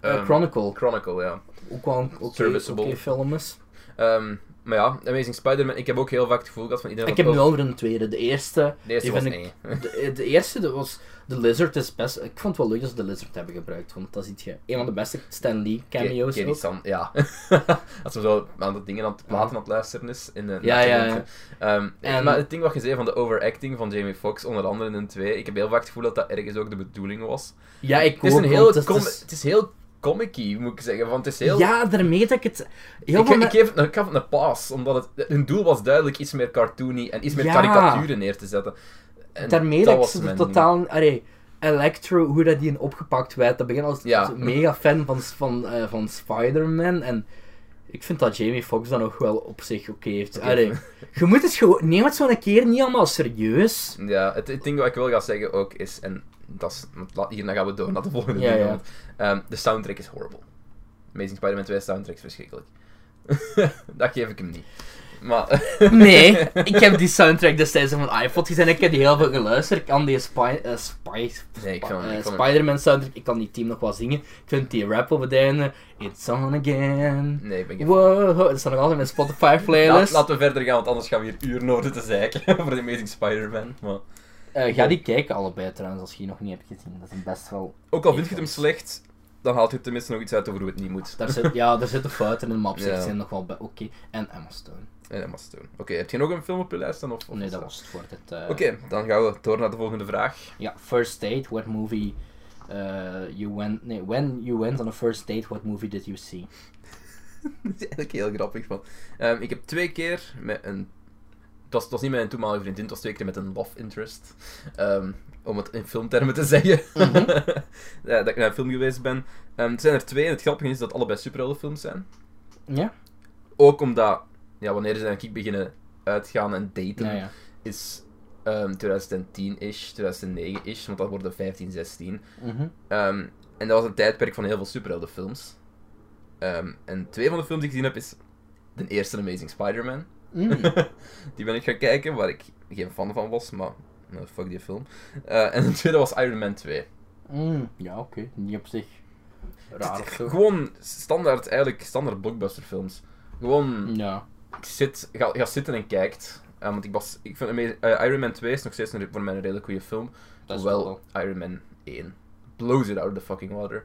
Eh, Ehm, Chronicle, Chronicle, ja. ook wel een oké Serviceable. oké film is. Ehm, Maar ja, Amazing Spider-Man, ik heb ook heel vaak het gevoel gehad van iedereen Ik heb van, nu oh, al weer een tweede. De eerste, de eerste die was vind eng. de, eh, de eerste dat was The Lizard is best. Ik vond het wel leuk dat ze The Lizard hebben gebruikt, want dat is je een van de beste Stan Lee cameo's. Kenny ook. San, ja. Als ze zo aan dat dingen aan het platen aan het luisteren is. In de Ja, ja, ja. Ehm, En- Maar het ding wat je zei van de overacting van Jamie Foxx, onder andere in 2, ik heb heel vaak het gevoel dat dat ergens ook de bedoeling was. Ja, ik Het is, ook, een want heel dat com- het is heel comic moet ik zeggen. Want het is heel... Ja, daarmee dat ik het. Heel ik, veel ge- me- ik, geef het, ik gaf het een paas, omdat het, hun doel was duidelijk iets meer cartoony en iets meer Ja. karikaturen neer te zetten. En daarmee dat ik ze mijn- er totaal. Allee, Electro, hoe dat die een opgepakt werd. Dat begin als Ja. als mega fan van, van, eh, van Spider-Man. En ik vind dat Jamie Foxx dan nog wel op zich oké heeft. Oké. Allee, je moet het gewoon. Neem het zo'n keer niet allemaal serieus. Ja, het, het ding wat ik wil gaan zeggen ook is, en dat is, want la- hierna gaan we door naar de volgende Ja, ding, ja. want, ehm, de soundtrack is horrible. Amazing Spider-Man 2 soundtrack is verschrikkelijk. dat geef ik hem niet. Maar, Nee, ik heb die soundtrack destijds op mijn iPod gezien. Ik heb die heel veel geluisterd. Ik kan die Spy, eh, Spy, nee, ik vond hem- eh, ik vond hem- Spider-Man soundtrack, ik kan die team nog wel zingen. Ik vind die rap op het einde. It's on again. Nee, ik ben geen Wow, dat staat nog altijd in mijn Spotify Laat- playlist. laten we verder gaan, want anders gaan we hier uren over te zeiken over de Amazing Spider-Man. Maar... Eh, ga die kijken allebei trouwens, als je die nog niet hebt gezien. Dat is best wel... Ook al vind je het hem slecht, dan haalt je tenminste nog iets uit over hoe het niet moet. Daar zit, ja, daar zitten fouten in, maar op zich Ja. zijn nog wel... bij- Oké, en Emma Stone. En Eh, dat was het doen. Oké, heb je nog een film op je lijst dan? Of, of Nee, is dat was het voor dit... eh, Oké, dan gaan we door naar de volgende vraag. Ja, first date, what movie... eh, you went... Nee, when you went on a first date, what movie did you see? Dat is eigenlijk heel grappig. Van. ik heb twee keer met een. Het was, het was niet met een toenmalige vriendin, het was twee keer met een love interest. Ehm, om het in filmtermen te zeggen. Mhm. Ja, dat ik naar een film geweest ben. Ehm, het zijn er twee en het grappige is dat allebei superheldenfilms zijn. Ja? Ook omdat, ja, wanneer ze ik beginnen uitgaan en daten, Nou ja. is ehm, 2010-ish, 2009-ish, want dat worden 15, 16. Mhm. Ehm, en dat was een tijdperk van heel veel superheldenfilms. Ehm en twee van de films die ik gezien heb is de eerste Amazing Spider-Man. Mm. die ben ik gaan kijken, waar ik geen fan van was, maar nou, fuck die film. Eh, en de tweede was Iron Man 2. Mm. Ja, oké. Niet op zich raar of zo. Gewoon standaard, eigenlijk standaard blockbusterfilms. Gewoon Ja. zit, ga, ga zitten en kijkt. Eh, want ik, was, ik vind Amaz- eh, Iron Man 2 is nog steeds een, voor mij een redelijk goede film. Dat is Hoewel Iron Man 1 blows it out of the fucking water.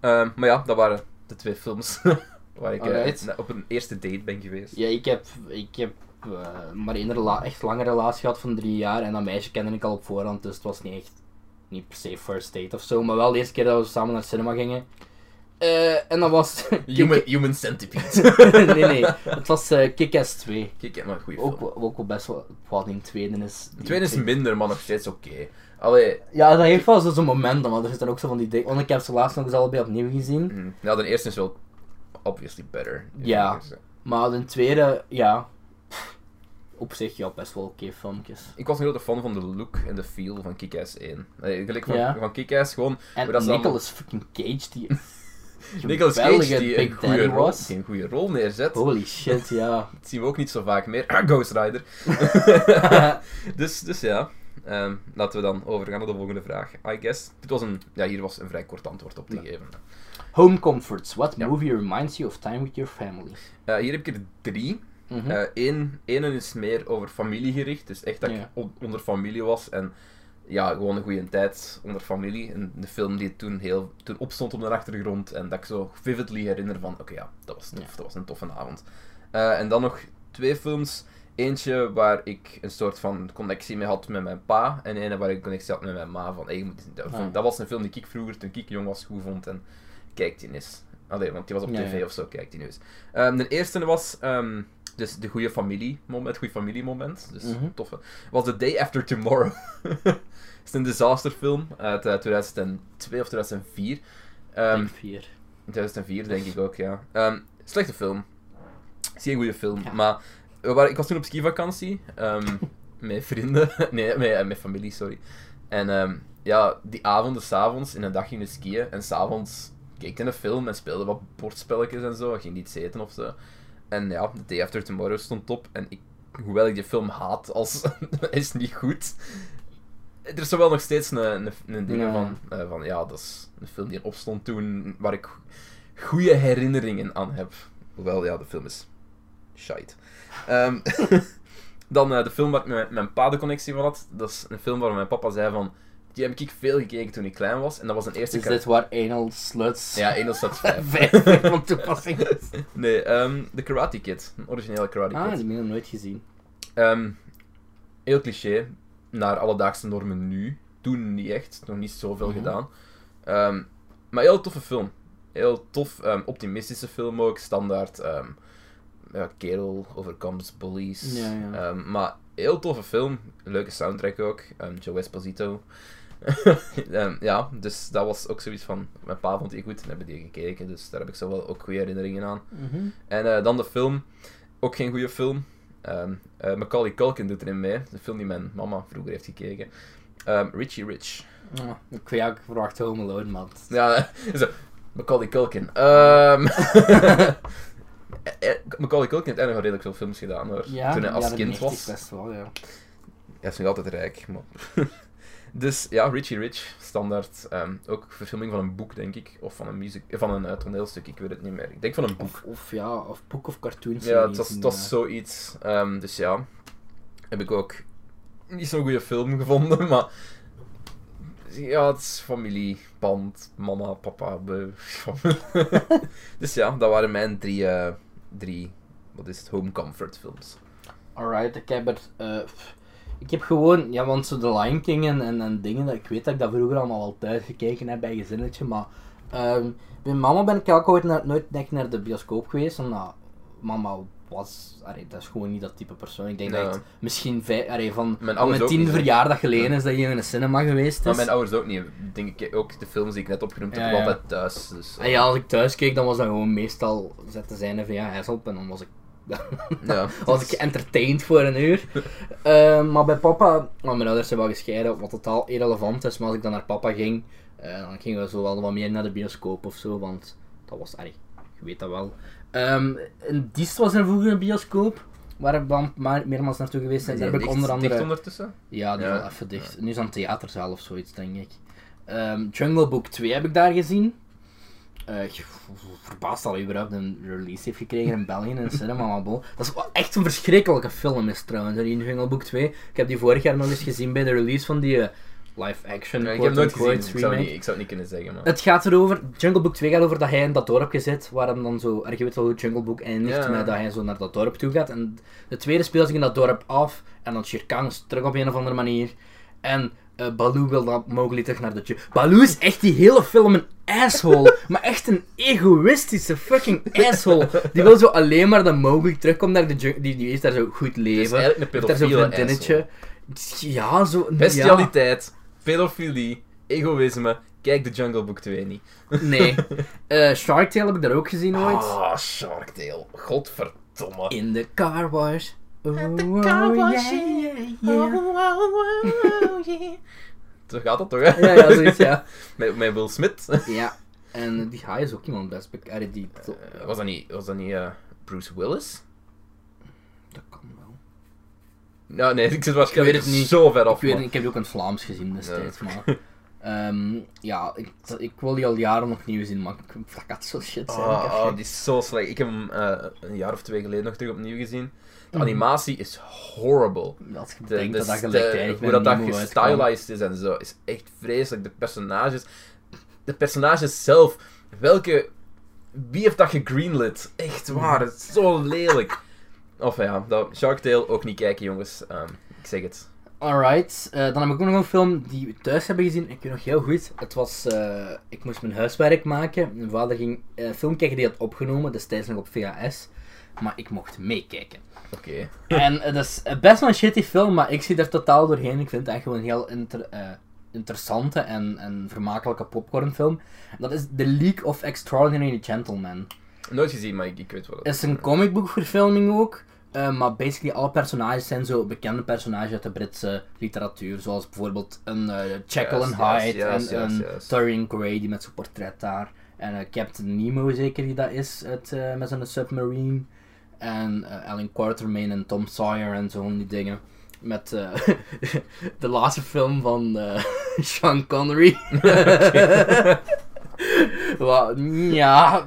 Ehm, maar ja, dat waren de twee films waar ik eh, Alright. na- op een eerste date ben geweest. Ja, ik heb, ik heb eh, maar één rela- echt lange relatie gehad van drie jaar. En dat meisje kende ik al op voorhand, dus het was niet echt, niet per se first date of zo. Maar wel de eerste keer dat we samen naar het cinema gingen. Eh, en dat was... Human, human Centipede. nee, nee. Het was eh Kick-Ass 2. Kijk, ja, maar een goede film. Ook, wel- ook wel best wel... Wat in tweede is... de tweede is minder, maar nog steeds oké. Allee, Ja, dat heeft wel zo zo'n moment, want er zitten ook zo van die dingen... Want ik heb ze laatst nog eens allebei opnieuw gezien. mm, nou, de eerste is wel obviously better. Ja. Maar de tweede, ja. pff, Op zich, ja, best wel oké filmpjes. Ik was een grote fan van de look en de feel van Kick-Ass 1. Allee, gelijk van, Ja. van Kick-Ass, gewoon En Maar dat is Nicolas dan- fucking Cage, die Nicolas geweldige Cage die een Big goede Daddy rol, was. die een goede rol neerzet. Holy shit, ja. Dat zien we ook niet zo vaak meer. Ghost Rider. dus, dus ja, Ehm, laten we dan overgaan naar de volgende vraag. I guess. Dit was een, ja, hier was een vrij kort antwoord op te Ja. geven. Home Comforts. What Ja. movie reminds you of time with your family? Eh, hier heb ik er drie. Mhm. Eh Eén één is meer over familie gericht. Dus echt dat ik Ja. on- onder familie was. En ja, gewoon een goede tijd onder familie. En de film die toen, heel, toen opstond op de achtergrond. En dat ik zo vividly herinner van... Oké, ja, dat was tof. Ja. Dat was een toffe avond. Eh, en dan nog twee films. Eentje waar ik een soort van connectie mee had met mijn pa. En ene waar ik een connectie had met mijn ma. Van, hey, je moet, dat, Ah. vond- dat was een film die ik vroeger, toen ik jong was, goed vond. En kijk die eens. Allee, want die was op Ja, tv ja. of zo, kijk die nu eens. Ehm, de eerste was... ehm, dus de goede familiemoment, goede familiemoment. Dus Mhm. toffe. Was The Day After Tomorrow. Het is een disasterfilm uit eh, 2002 of 2004. Ehm, Denk vier. 2004 denk ik ook, ja. Ehm, slechte film. Is geen goede film. Ja. Maar we waren, ik was toen op skivakantie. ehm met vrienden. nee, met, eh, met familie, sorry. En ehm, ja, die avonden, s'avonds, in een dag gingen we skiën. En s'avonds keek ik een film en speelde wat bordspelletjes en zo. Ik ging niet eten of zo. En ja, The Day After Tomorrow stond op. En ik, hoewel ik die film haat, als is niet goed. Er is wel nog steeds een, een, een ding Ja. van, eh, van, ja, dat is een film die er opstond toen, waar ik goede herinneringen aan heb. Hoewel, ja, de film is Shite. Ehm, dan eh, de film waar ik met mijn pa de connectie van had. Dat is een film waar mijn papa zei van... Die heb ik veel gekeken toen ik klein was. En dat was een eerste Is kar- dit waar anal sluts Ja, 1 staat 5. vijf vijf van toepassing is? Nee, ehm The Karate Kid. Een originele Karate Ah, die Kid. heb ik nog nooit gezien. Ehm, heel cliché. Naar alledaagse normen nu. Toen niet echt. Nog niet zoveel Mhm. gedaan. Ehm, maar heel toffe film. Heel tof. ehm, optimistische film ook. Standaard. ehm, ja, kerel overcomes bullies. Ja, ja. Ehm, maar heel toffe film. Leuke soundtrack ook. ehm Joe Esposito. Ehm, ja, dus dat was ook zoiets van... Mijn pa vond die goed en hebben die gekeken. Dus daar heb ik zo wel ook goede herinneringen aan. En eh, dan de film. Ook geen goede film. Ehm eh, Macaulay Culkin doet erin mee. De film die mijn mama vroeger heeft gekeken. Ehm, Richie Rich. Ah, ik, ja, ik verwacht Home Alone, man. Ja, zo. Macaulay Culkin. Ehm eh, eh, Macaulay Culkin heeft eigenlijk al redelijk veel films gedaan hoor. Ja, Toen hij als jaren kind 90 was. Best wel, ja. Hij is nog altijd rijk. Maar... dus ja, Richie Rich, standaard. Ehm, ook verfilming van een boek, denk ik. Of van een, music eh, van een eh, toneelstuk, ik weet het niet meer. Ik denk van een boek. Of, of ja, of boek of cartoons. Ja, het was, het was zoiets. Ehm, dus ja, heb ik ook niet zo'n goede film gevonden, maar... Ja, het is familie, band, mama, papa, beu. dus ja, dat waren mijn drie, eh, drie, wat is het, home comfort films. Alright, ik heb er. eh, pff, ik heb gewoon, ja, want zo de Lion King en, en, en dingen, dat- ik weet dat ik dat vroeger allemaal wel thuis gekeken heb bij gezinnetje, maar ehm, bij mama ben ik ook ooit naar, nooit echt naar de bioscoop geweest, omdat mama was, allee, dat is gewoon niet dat type persoon. Ik denk Nee. dat het misschien vijf, allee, van Mijn van ouders mijn ook tiende niet, hè. verjaardag geleden is dat je in een cinema geweest Maar is. mijn ouders ook niet. Denk ik, ook de films die ik net opgenoemd heb, Ja, ja, ja. altijd thuis. Dus, eh, En ja, als ik thuis keek, dan was dat gewoon meestal zetten zijn VHS op en dan was ik eh, ja. was ik entertained voor een uur. Eh, maar bij papa, want mijn ouders zijn wel gescheiden, wat totaal irrelevant is. Maar als ik dan naar papa ging, eh, dan gingen we zo wel wat meer naar de bioscoop of zo, want dat was erg. Je weet dat wel. Ehm in Diest was er vroeger een bioscoop, waar ik dan maar, meermaals naartoe geweest ben. Is Daar die heb ik dicht- onder andere... dicht ondertussen? Ja, die Ja. is wel even dicht. Nu is het een theaterzaal of zoiets, denk ik. Ehm, Jungle Book 2 heb ik daar gezien. Eh, ik verbaasd dat hij überhaupt een release heeft gekregen in België in een cinema, maar bon. Dat is wel echt een verschrikkelijke film is trouwens, hè, die Jungle Book 2. Ik heb die vorig jaar nog eens gezien bij de release van die eh, live-action Ja, ik heb het nooit quote-unquote gezien, dus ik zou, remake. niet, ik zou het niet kunnen zeggen. Maar. Het gaat erover, Jungle Book 2 gaat over dat hij in dat dorpje zit, waar hem dan zo, er je weet wel hoe Jungle Book eindigt, Ja. met dat hij zo naar dat dorp toe gaat. En de tweede speelt zich in dat dorp af, en dan Shere Khan is terug op een of andere manier. En eh Baloo wil dan Mowgli terug naar de Jungle. Baloo is echt die hele film een asshole, maar echt een egoïstische fucking asshole. Die wil zo alleen maar dat Mowgli terugkomt naar de jungle, die, die is daar zo goed Het is leven. eigenlijk een heeft daar zo'n pedofiele vriendinnetje. Ja, zo... ja. Bestialiteit, pedofilie, egoïsme. Kijk de Jungle Book 2 niet. Nee. Eh Shark Tale heb ik daar ook gezien ooit. Ah, Shark Tale. Godverdomme. In the car wash. Oh, At the car wash, Oh, Zo gaat dat toch, hè? Ja, ja, zoiets, ja. Met, met Will Smith. ja. En die guy is ook iemand best bekend. Die... Eh, was dat niet, was dat niet eh, Bruce Willis? Dat kan wel. Nou, nee, ik zit waarschijnlijk Ik weet het niet. zo ver af. Ik, weet, man. niet, ik heb die ook in het Vlaams gezien destijds, maar... ehm, ja, ik, ik wil die al jaren opnieuw zien, maar ik, dat gaat zo shit zijn. Ah, ik heb ah, geen- die is zo slecht. Ik heb hem eh, een jaar of twee geleden nog terug opnieuw gezien. De Mhm. animatie is horrible. Als je De, denkt de dat dat st- gelijktijdig hoe met dat, dat Nemo uitkwam. gestylized is en zo, is echt vreselijk. De personages, de personages zelf, welke, wie heeft dat gegreenlit? Echt waar, het is zo lelijk. Of ja, dat, Shark Tale ook niet kijken, jongens. Ehm, ik zeg het. Alright, eh, dan heb ik ook nog een film die we thuis hebben gezien. Ik weet nog heel goed. Het was, eh, ik moest mijn huiswerk maken. Mijn vader ging eh, een film kijken die hij had opgenomen, destijds nog op VHS. Maar ik mocht meekijken. Oké. En het is eh, best wel een shitty film, maar ik zie er totaal doorheen. Ik vind het echt gewoon een heel inter- eh, interessante en, en vermakelijke popcornfilm. Dat is The League of Extraordinary Gentlemen Nooit gezien, maar ik, ik weet wat het is een comic book verfilming ook. eh, maar basically alle personages zijn zo bekende personages uit de Britse literatuur. Zoals bijvoorbeeld een eh, Jekyll Yes, yes, and Hyde yes, en yes, een yes. Dorian Gray die met zijn portret daar. En eh, Captain Nemo zeker die dat is uit, eh, met zijn submarine. En eh, Alan Quartermain en Tom Sawyer en zo van die dingen. Met eh, de laatste film van eh, Sean Connery. Wat, ja,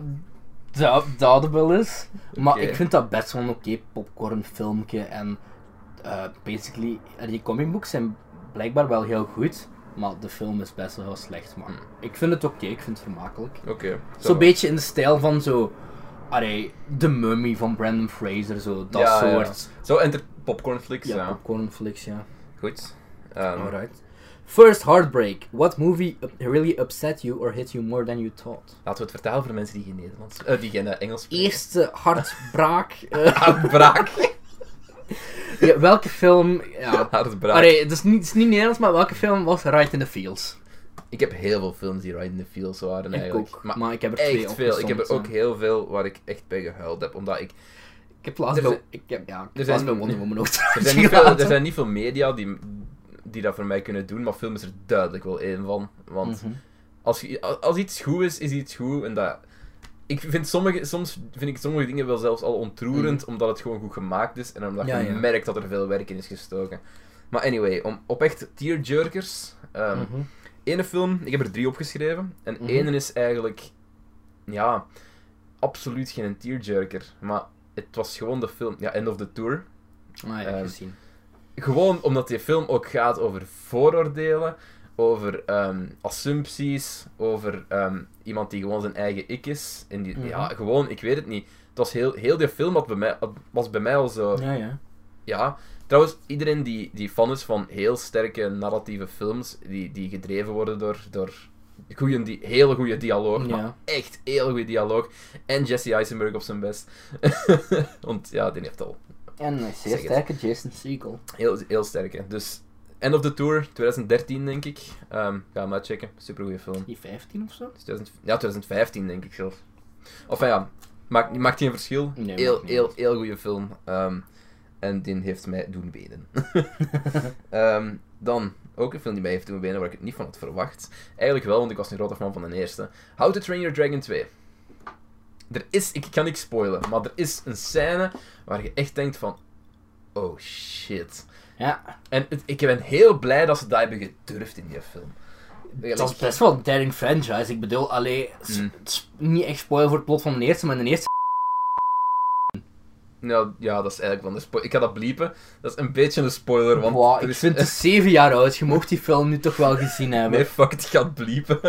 dat, dat wel is. Maar Oké. ik vind dat best wel een oké popcorn filmpje. En eh, basically, en die comic books zijn blijkbaar wel heel goed. Maar de film is best wel heel slecht. Hmm. Maar ik vind het oké, ik vind het vermakelijk. Oké. Zo'n beetje in de stijl van zo. Allee, de mummy van Brandon Fraser, zo. Dat Ja, ja. soort. Zo enter popcornflix, Ja, ja. popcornflix, ja. Goed. Ehm, Alright. First Heartbreak. What movie up- really upset you or hit you more than you thought? Laten we het vertalen voor mensen die geen Nederlands, eh, die geen eh, Engels spreken. Eerste hartbraak. eh, Uitbraak. ja, welke film. Ja. Uitbraak. Allee, het is, niet, het is niet Nederlands, maar welke film was Right in the Fields? Ik heb heel veel films die right in the fields waren Ik eigenlijk. ook, maar, Maar ik heb er twee echt veel. Ik heb er ook opgezomd, ja. heel veel waar ik echt bij gehuild heb. Omdat ik... Ik heb laatst Er bij, zijn- ik heb, ja, ik heb er zijn- laatst bij Wonder Woman ook Er zijn niet veel, er zijn niet veel media die, die dat voor mij kunnen doen, maar film is er duidelijk wel één van. Want Mhm. als, je- als iets goed is, is iets goed. En dat, ik vind sommige, soms vind ik sommige dingen wel zelfs al ontroerend, omdat het gewoon goed gemaakt is en omdat Mhm. Ja, je ja. merkt dat er veel werk in is gestoken. Maar anyway, om, op echt tearjerkers. ehm ene film, ik heb er drie opgeschreven. En Mhm. ene is eigenlijk, ja, absoluut geen tearjerker. Maar het was gewoon de film, ja, End of the Tour. Ah, ja, Ehm, gezien. Gewoon omdat die film ook gaat over vooroordelen, over ehm, assumpties, over ehm, iemand die gewoon zijn eigen ik is. En die, Mhm. Ja, gewoon, ik weet het niet. Het was heel, heel die film had bij mij, had- was bij mij al zo. Ja. Ja, ja. Trouwens, iedereen die, die fan is van heel sterke narratieve films, die, die gedreven worden door, door goeie, die, hele goede dialoog, maar ja. echt heel goede dialoog. En Jesse Eisenberg op zijn best. Want ja, die heeft al En een zeer het. sterke Jason Segel. Heel, heel sterk, hè. Dus End of the Tour, 2013 denk ik. Ehm ga hem uitchecken. Supergoeie film. Die 15 of zo? Is 2000 ja, 2015 denk ik zelf. Of ja, maakt, maakt geen verschil. Nee, heel, maakt niet heel, uit. heel goede film. Ehm, en die heeft mij doen benen. Ehm, dan, ook een film die mij heeft doen benen waar ik het niet van had verwacht. Eigenlijk wel, want ik was een grote fan van de eerste. How to Train Your Dragon 2. Er is, ik kan niks spoilen, maar er is een scène waar je echt denkt van... Oh shit. Ja, En het- ik ben heel blij dat ze dat hebben gedurfd in die film. dat is best wel een daring franchise. Ik bedoel, alleen Mm. niet echt spoil voor het plot van de eerste, maar de eerste. Nou, ja, dat is eigenlijk wel een spoiler. Ik ga dat bliepen. Dat is een beetje een spoiler, want... Wow, er ik is- vind het 7 jaar oud. Je mocht die film nu toch wel gezien hebben. Nee, fuck, het gaat bliepen.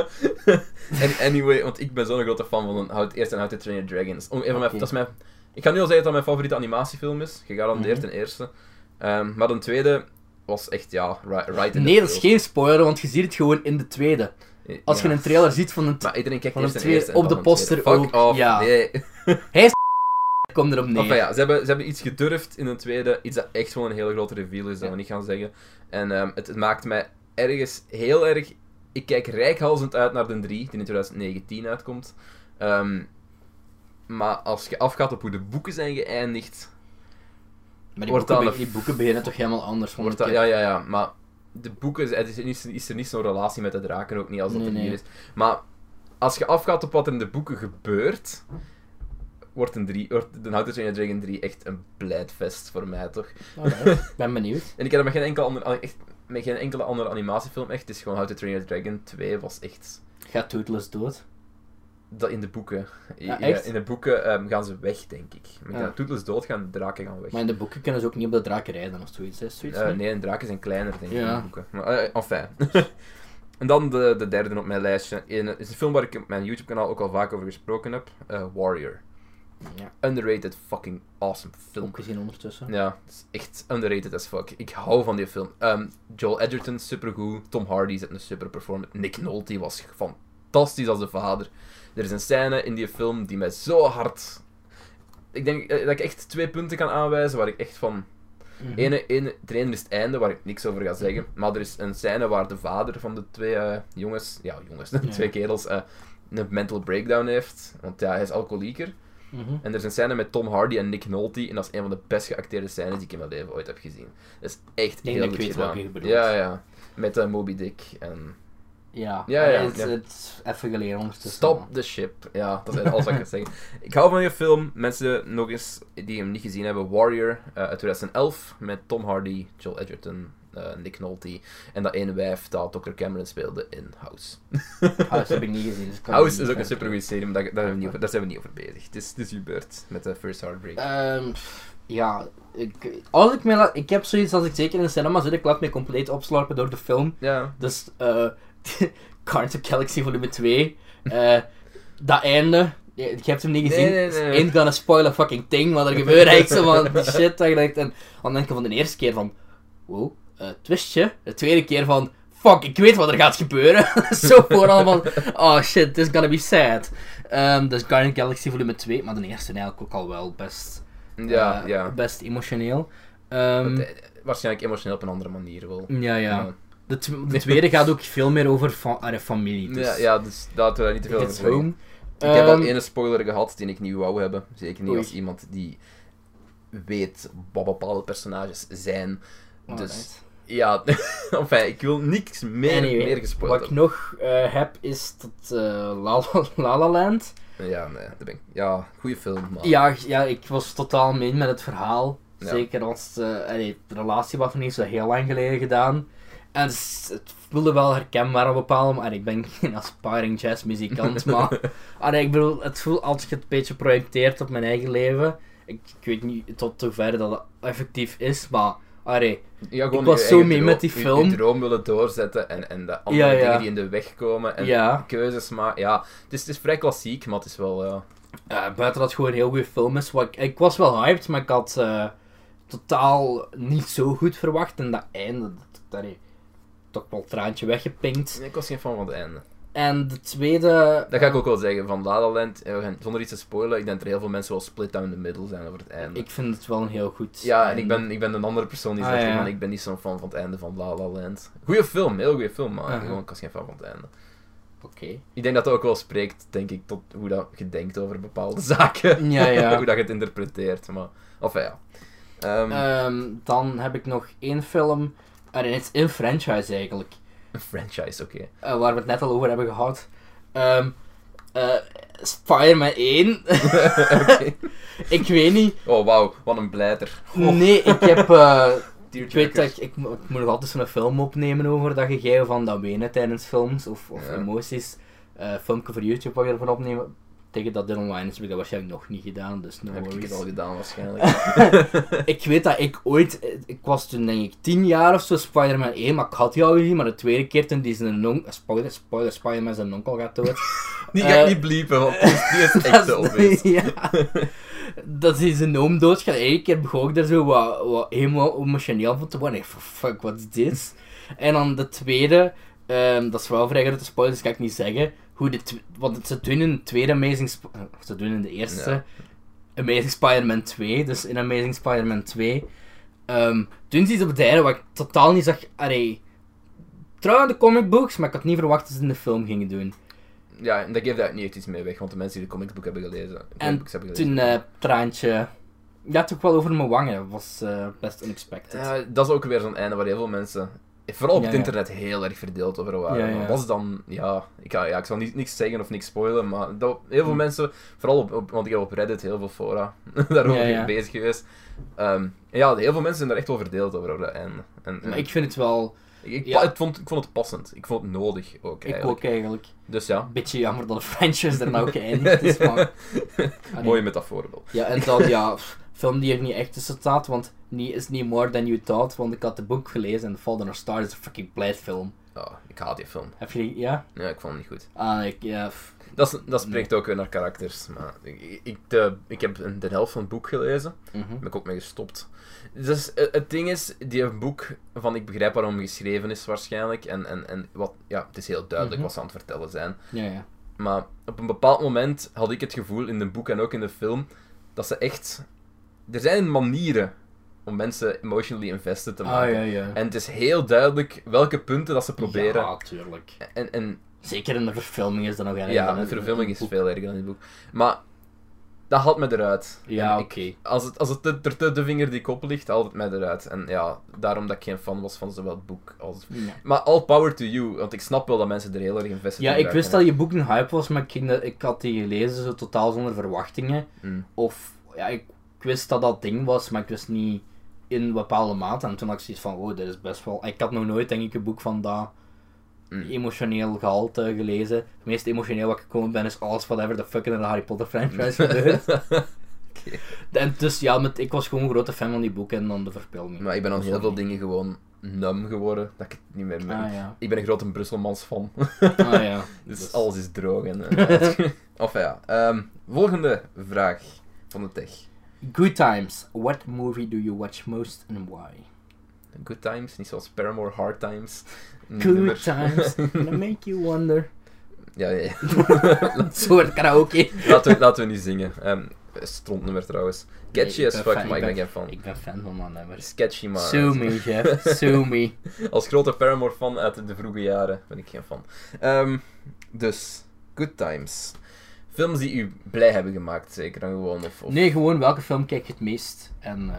en anyway, want ik ben zo'n grote fan van How- het eerste en How to Train Your Dragons. Om, een van mijn, Oké. dat is mijn, ik ga nu al zeggen dat dat mijn favoriete animatiefilm is. Gegarandeerd Mhm. een eerste. Ehm, maar een tweede was echt, ja, right, right in Nee, the dat is thrill. geen spoiler, want je ziet het gewoon in de tweede. Als Ja. je een trailer ziet van een Maar iedereen kijkt van eerst een een tweede- eerste en dan op de een tweede. poster Fuck ook, off, ja. nee. trailer, komt erop neer. Enfin ja, ze hebben, ze hebben iets gedurfd in een tweede. Iets dat echt gewoon een hele grote reveal is, dat we niet gaan zeggen. En ehm, het, het maakt mij ergens heel erg... Ik kijk reikhalzend uit naar de 3, die in 2019 uitkomt. Ehm, maar als je afgaat op hoe de boeken zijn geëindigd... Maar die Wordt boeken, dat be- een die boeken beginnen toch helemaal anders. want Wordt ik dat, ja, heb- ja, ja. Maar de boeken... zijn- Het is, niet- is er niet zo'n relatie met de draken, ook niet als dat Nee, er hier nee. is. Maar als je afgaat op wat er in de boeken gebeurt... Wordt een 3, wordt de Houters en Dragon 3 echt een blijdfest voor mij, toch? Alright, ik ben benieuwd. En ik heb er met geen enkele andere, echt, met geen enkele andere animatiefilm echt. Het is gewoon How to Train Your Dragon 2 was echt. Gaat Tootles dood? Dat in de boeken. I- Ja, in, echt? de- in de boeken ehm, gaan ze weg, denk ik. Met Ja. ja. Toetles doodgaan, de draken gaan weg. Maar in de boeken kunnen ze ook niet op de draak rijden of zoiets. Hè? zoiets Eh, niet? nee, en draken zijn kleiner, denk ik, Ja. in de boeken. Maar, eh, enfin. en dan de, de derde op mijn lijstje. Een- Het is een film waar ik op mijn YouTube-kanaal ook al vaak over gesproken heb. Eh, Warrior. Ja, Underrated fucking awesome film. ook gezien ondertussen. Ja, het is echt underrated as fuck. Ik hou van die film. Ehm, Joel Edgerton, supergoed. Tom Hardy zet een super performance. Nick Nolte was fantastisch als de vader. Er is een scène in die film die mij zo hard... Ik denk eh, dat ik echt twee punten kan aanwijzen waar ik echt van... Mhm. Ene, ene, het ene is het einde, waar ik niks over ga zeggen. Maar er is een scène waar de vader van de twee eh, jongens... Ja, jongens. de Ja. twee kerels... eh, een mental breakdown heeft. Want ja, hij is alcoholieker. Mhm. En er is een scène met Tom Hardy en Nick Nolte. En dat is een van de best geacteerde scènes die ik in mijn leven ooit heb gezien. Dat is echt denk heel dat ik goed weet gedaan. welke je bedoelt. Ja, ja. Met eh, Moby Dick en... Ja, Ja, Allee, ja, het, ja. het is even geleden ondertussen. Stop the ship. Ja, dat is eigenlijk alles wat ik kan zeggen. Ik hou van je film. Mensen nog eens die hem niet gezien hebben. Warrior eh, uit 2011. Met Tom Hardy, Joel Edgerton, eh, Nick Nolte. En dat ene wijf dat Dr. Cameron speelde in House. House heb ik niet gezien. Dus ik kan House is ook niet een verder. supergoeie serie, maar daar, daar, hebben we niet over- daar zijn we niet over bezig. Het is, het is uw beurt met de First Heartbreak. Ehm, pff, ja, ik, als ik, me laat- ik heb zoiets als ik zeker in de cinema zit, ik laat me compleet opslorpen door de film. ja. Dus eh Guardians of the Galaxy volume 2, eh, dat einde, je, je hebt hem niet gezien, Nee, nee, dus nee. ain't gonna spoil a fucking thing, wat er gebeurt eigenlijk zo van die shit. Dat je denkt, en dan denk je van de eerste keer van, wow, eh, twistje. De tweede keer van, fuck, ik weet wat er gaat gebeuren. zo vooral van, oh shit, this is gonna be sad. Ehm, dus Guardians of the Galaxy volume 2, maar de eerste eigenlijk ook al wel best Ja, eh, ja. Best emotioneel. Ehm, Want, eh, waarschijnlijk emotioneel op een andere manier wel. ja, ja. De, tw- de tweede gaat ook veel meer over fa- eh, familie. Dus ja, ja, dus daar laten we daar niet te veel over It's zeggen. home. Ik heb al Ehm, ene spoiler gehad die ik niet wou hebben. Zeker niet Oei. als iemand die weet wat bepaalde personages zijn. Dus oh, alright. ja, enfin, ik wil niks meer, Anyway, meer Wat gespoild ik hebben. nog eh, heb is dat eh, La, La, La Land. Ja, nee, dat ben ik. Ja, goede film, maar. Ja, ja, ik was totaal min met het verhaal. Ja. Zeker als eh, allee, de relatie was nog niet zo heel lang geleden gedaan. En s- het voelde wel herkenbaar op bepaalde maar Ik ben geen aspiring jazzmuzikant, maar allee, ik bedoel, het voelt als ik het een beetje projecteert op mijn eigen leven. Ik, ik weet niet tot hoeverre dat, dat effectief is, maar allee, Ja, gewoon ik was je zo eigen mee droom- met die je- film. Je droom willen doorzetten en, en de andere Ja, ja. dingen die in de weg komen. En ja. keuzes maken. Ja, het is, het is vrij klassiek, maar het is wel. ja. Eh, buiten dat het gewoon een heel goede film is. Wat ik, ik was wel hyped, maar ik had eh, totaal niet zo goed verwacht. En dat einde, dat, dat heeft toch wel een traantje weggepinkt. Ik was geen fan van het einde. En de tweede... Dat ga ik ook wel zeggen. Van La La Land, eh, we gaan- zonder iets te spoilen, ik denk dat er heel veel mensen wel split down the middle zijn over het einde. Ik vind het wel een heel goed... Ja, en ik ben, ik ben een andere persoon die Ah, zegt, ja. man, ik ben niet zo'n fan van het einde van La La Land. Goeie film, heel goede film, maar Aha. gewoon, ik was geen fan van het einde. Oké. Ik denk dat dat ook wel spreekt, denk ik, tot hoe dat je denkt over bepaalde zaken. Ja, ja. hoe dat je het interpreteert, maar... Of ja. Ehm, Ehm, dan heb ik nog één film. En het is een franchise eigenlijk. een franchise, oké. eh, waar we het net al over hebben gehad. Ehm eh, Spider-Man 1. Oké. ik weet niet. Oh, wauw, wat een blijter. Nee, ik heb... eh, Ik weet dat Tearjerkers. ik, ik, mo- ik moet nog altijd zo'n film opnemen over dat gegeven van dat wenen tijdens films of, of Ja. emoties. Eh filmpje voor YouTube wat je ervan opnemen. Tegen dat dit online is heb ik dat waarschijnlijk nog niet gedaan, dus no Dan heb ik worries. het al gedaan, waarschijnlijk. Ik weet dat ik ooit, eh, ik was toen denk ik 10 jaar of zo, Spider-Man 1, maar ik had die al gezien, maar de tweede keer toen die zijn onkel, spoiler, spoiler, Spider-Man zijn onkel gaat dood. Die ga ik Eh, niet bliepen, want die is, die is echt de Dat is- obvious. ja. Dat is een oom doodgaan. Eén keer begon ik daar zo wat, wat helemaal emotioneel van te worden. Ik van, fuck, wat is dit? En dan de tweede, ehm, dat is wel vrij grote spoilers, kan ik niet zeggen. Hoe de tw- want ze doen in de tweede Amazing Sp- eh, ze doen in de eerste Ja. Amazing Spider-Man 2, dus in Amazing Spider-Man 2, ehm, doen ze iets op het einde wat ik totaal niet zag. Allee, trouw aan de comic books, maar ik had niet verwacht dat ze het in de film gingen doen. Ja, en dat geeft daar niet echt iets mee weg, want de mensen die de comicboek hebben gelezen... En comicbooks hebben gelezen- toen eh traantje. Ja, toch wel over mijn wangen. was eh, best unexpected. Ja, dat is ook weer zo'n einde waar heel veel mensen, vooral op Ja, het ja. internet, heel erg verdeeld over waren. Ja, ja. Dat was dan, ja, ik, ga- ja, ik zal niet, niks zeggen of niks spoilen, maar dat, heel veel Hm. mensen, vooral op, op- want ik heb op Reddit heel veel fora daarover Ja, ja. bezig geweest. Ehm, en ja, heel veel mensen zijn er echt wel verdeeld over. over dat einde. En, en maar ik vind het wel. ik, ik- ja. het vond, ik vond het passend. Ik vond het nodig ook Ik eigenlijk. ook eigenlijk. Dus ja, Beetje jammer dat de franchise er nou ook geëindigd is. Maar... Allee. mooie metafoor wel. Ja, en dan ja. pff, Film die er niet echt tussen staat, want niet is niet more than you thought, want ik had het boek gelezen en The Fallen of Stars is een fucking pleitfilm. Ja, ik haat die film. Heb je die, ja? Ja, ik vond hem niet goed. Ah, ik, ja. pff. Dat, is- dat spreekt ook weer naar karakters. Maar ik, ik, de, ik heb een- de helft van het boek gelezen. Mhm. ben ik ook mee gestopt. Dus eh, het ding is, die boek van ik begrijp waarom geschreven is waarschijnlijk. En, en, en wat, ja, het is heel duidelijk Mhm. wat ze aan het vertellen zijn. Ja, ja. Maar op een bepaald moment had ik het gevoel in de boek en ook in de film dat ze echt. Er zijn manieren om mensen emotionally invested te Ah, maken. ja, ja. En het is heel duidelijk welke punten dat ze proberen. Ja, tuurlijk. En, en Zeker in de verfilming is dat nog erg. ja, dan de in- verfilming in is het boek. veel erger dan in het boek. Maar dat haalt me eruit. Ja, En oké. ik- als het, als het te, er te de vinger die kop ligt, haalt het mij eruit. En ja, daarom dat ik geen fan was van zowel het boek als... Ja. Maar all power to you, want ik snap wel dat mensen er heel erg in vestigen. Ja, ik wist dat je boek een hype was, maar ik, ging dat- ik had die gelezen zo totaal zonder verwachtingen. Mm. Of, ja, ik, ik wist dat dat ding was, maar ik wist niet in bepaalde mate. En toen had ik zoiets van, wow, dit is best wel... Ik had nog nooit, denk ik, een boek van dat Mm. emotioneel gehalte gelezen. Het meest emotioneel wat ik gekomen ben is alles whatever the fuck in de Harry Potter franchise gebeurt. En dus ja, met, ik was gewoon een grote fan van die boeken en dan de verspilling. Maar ik ben aan Dat heel is veel niet- dingen gewoon num geworden, dat ik het niet meer merk. Ah ja. Ik ben een grote Brusselmans fan. Ah ja. Dus Dus- alles is droog. En, eh, of ja. ehm, volgende vraag van de tech. Good Times. What movie do you watch most and why? Good times, niet zoals Paramore Hard Times. Een Good nummer. Times. Gonna make you wonder. ja, ja, ja. Dat soort karaoke. Laten, we, laten we niet zingen. Ehm strontnummer trouwens. Catchy Nee, ik as ben fuck, fan- maar ik ik ben geen fan. Ik ben fan van dat nummer. Sketchy, maar... Sue me, Jeff. Sue me. Als grote Paramore-fan uit de vroege jaren ben ik geen fan. Ehm, dus, Good Times. Films die u blij hebben gemaakt, zeker dan gewoon. Of, of... Nee, gewoon welke film kijk je het meest? En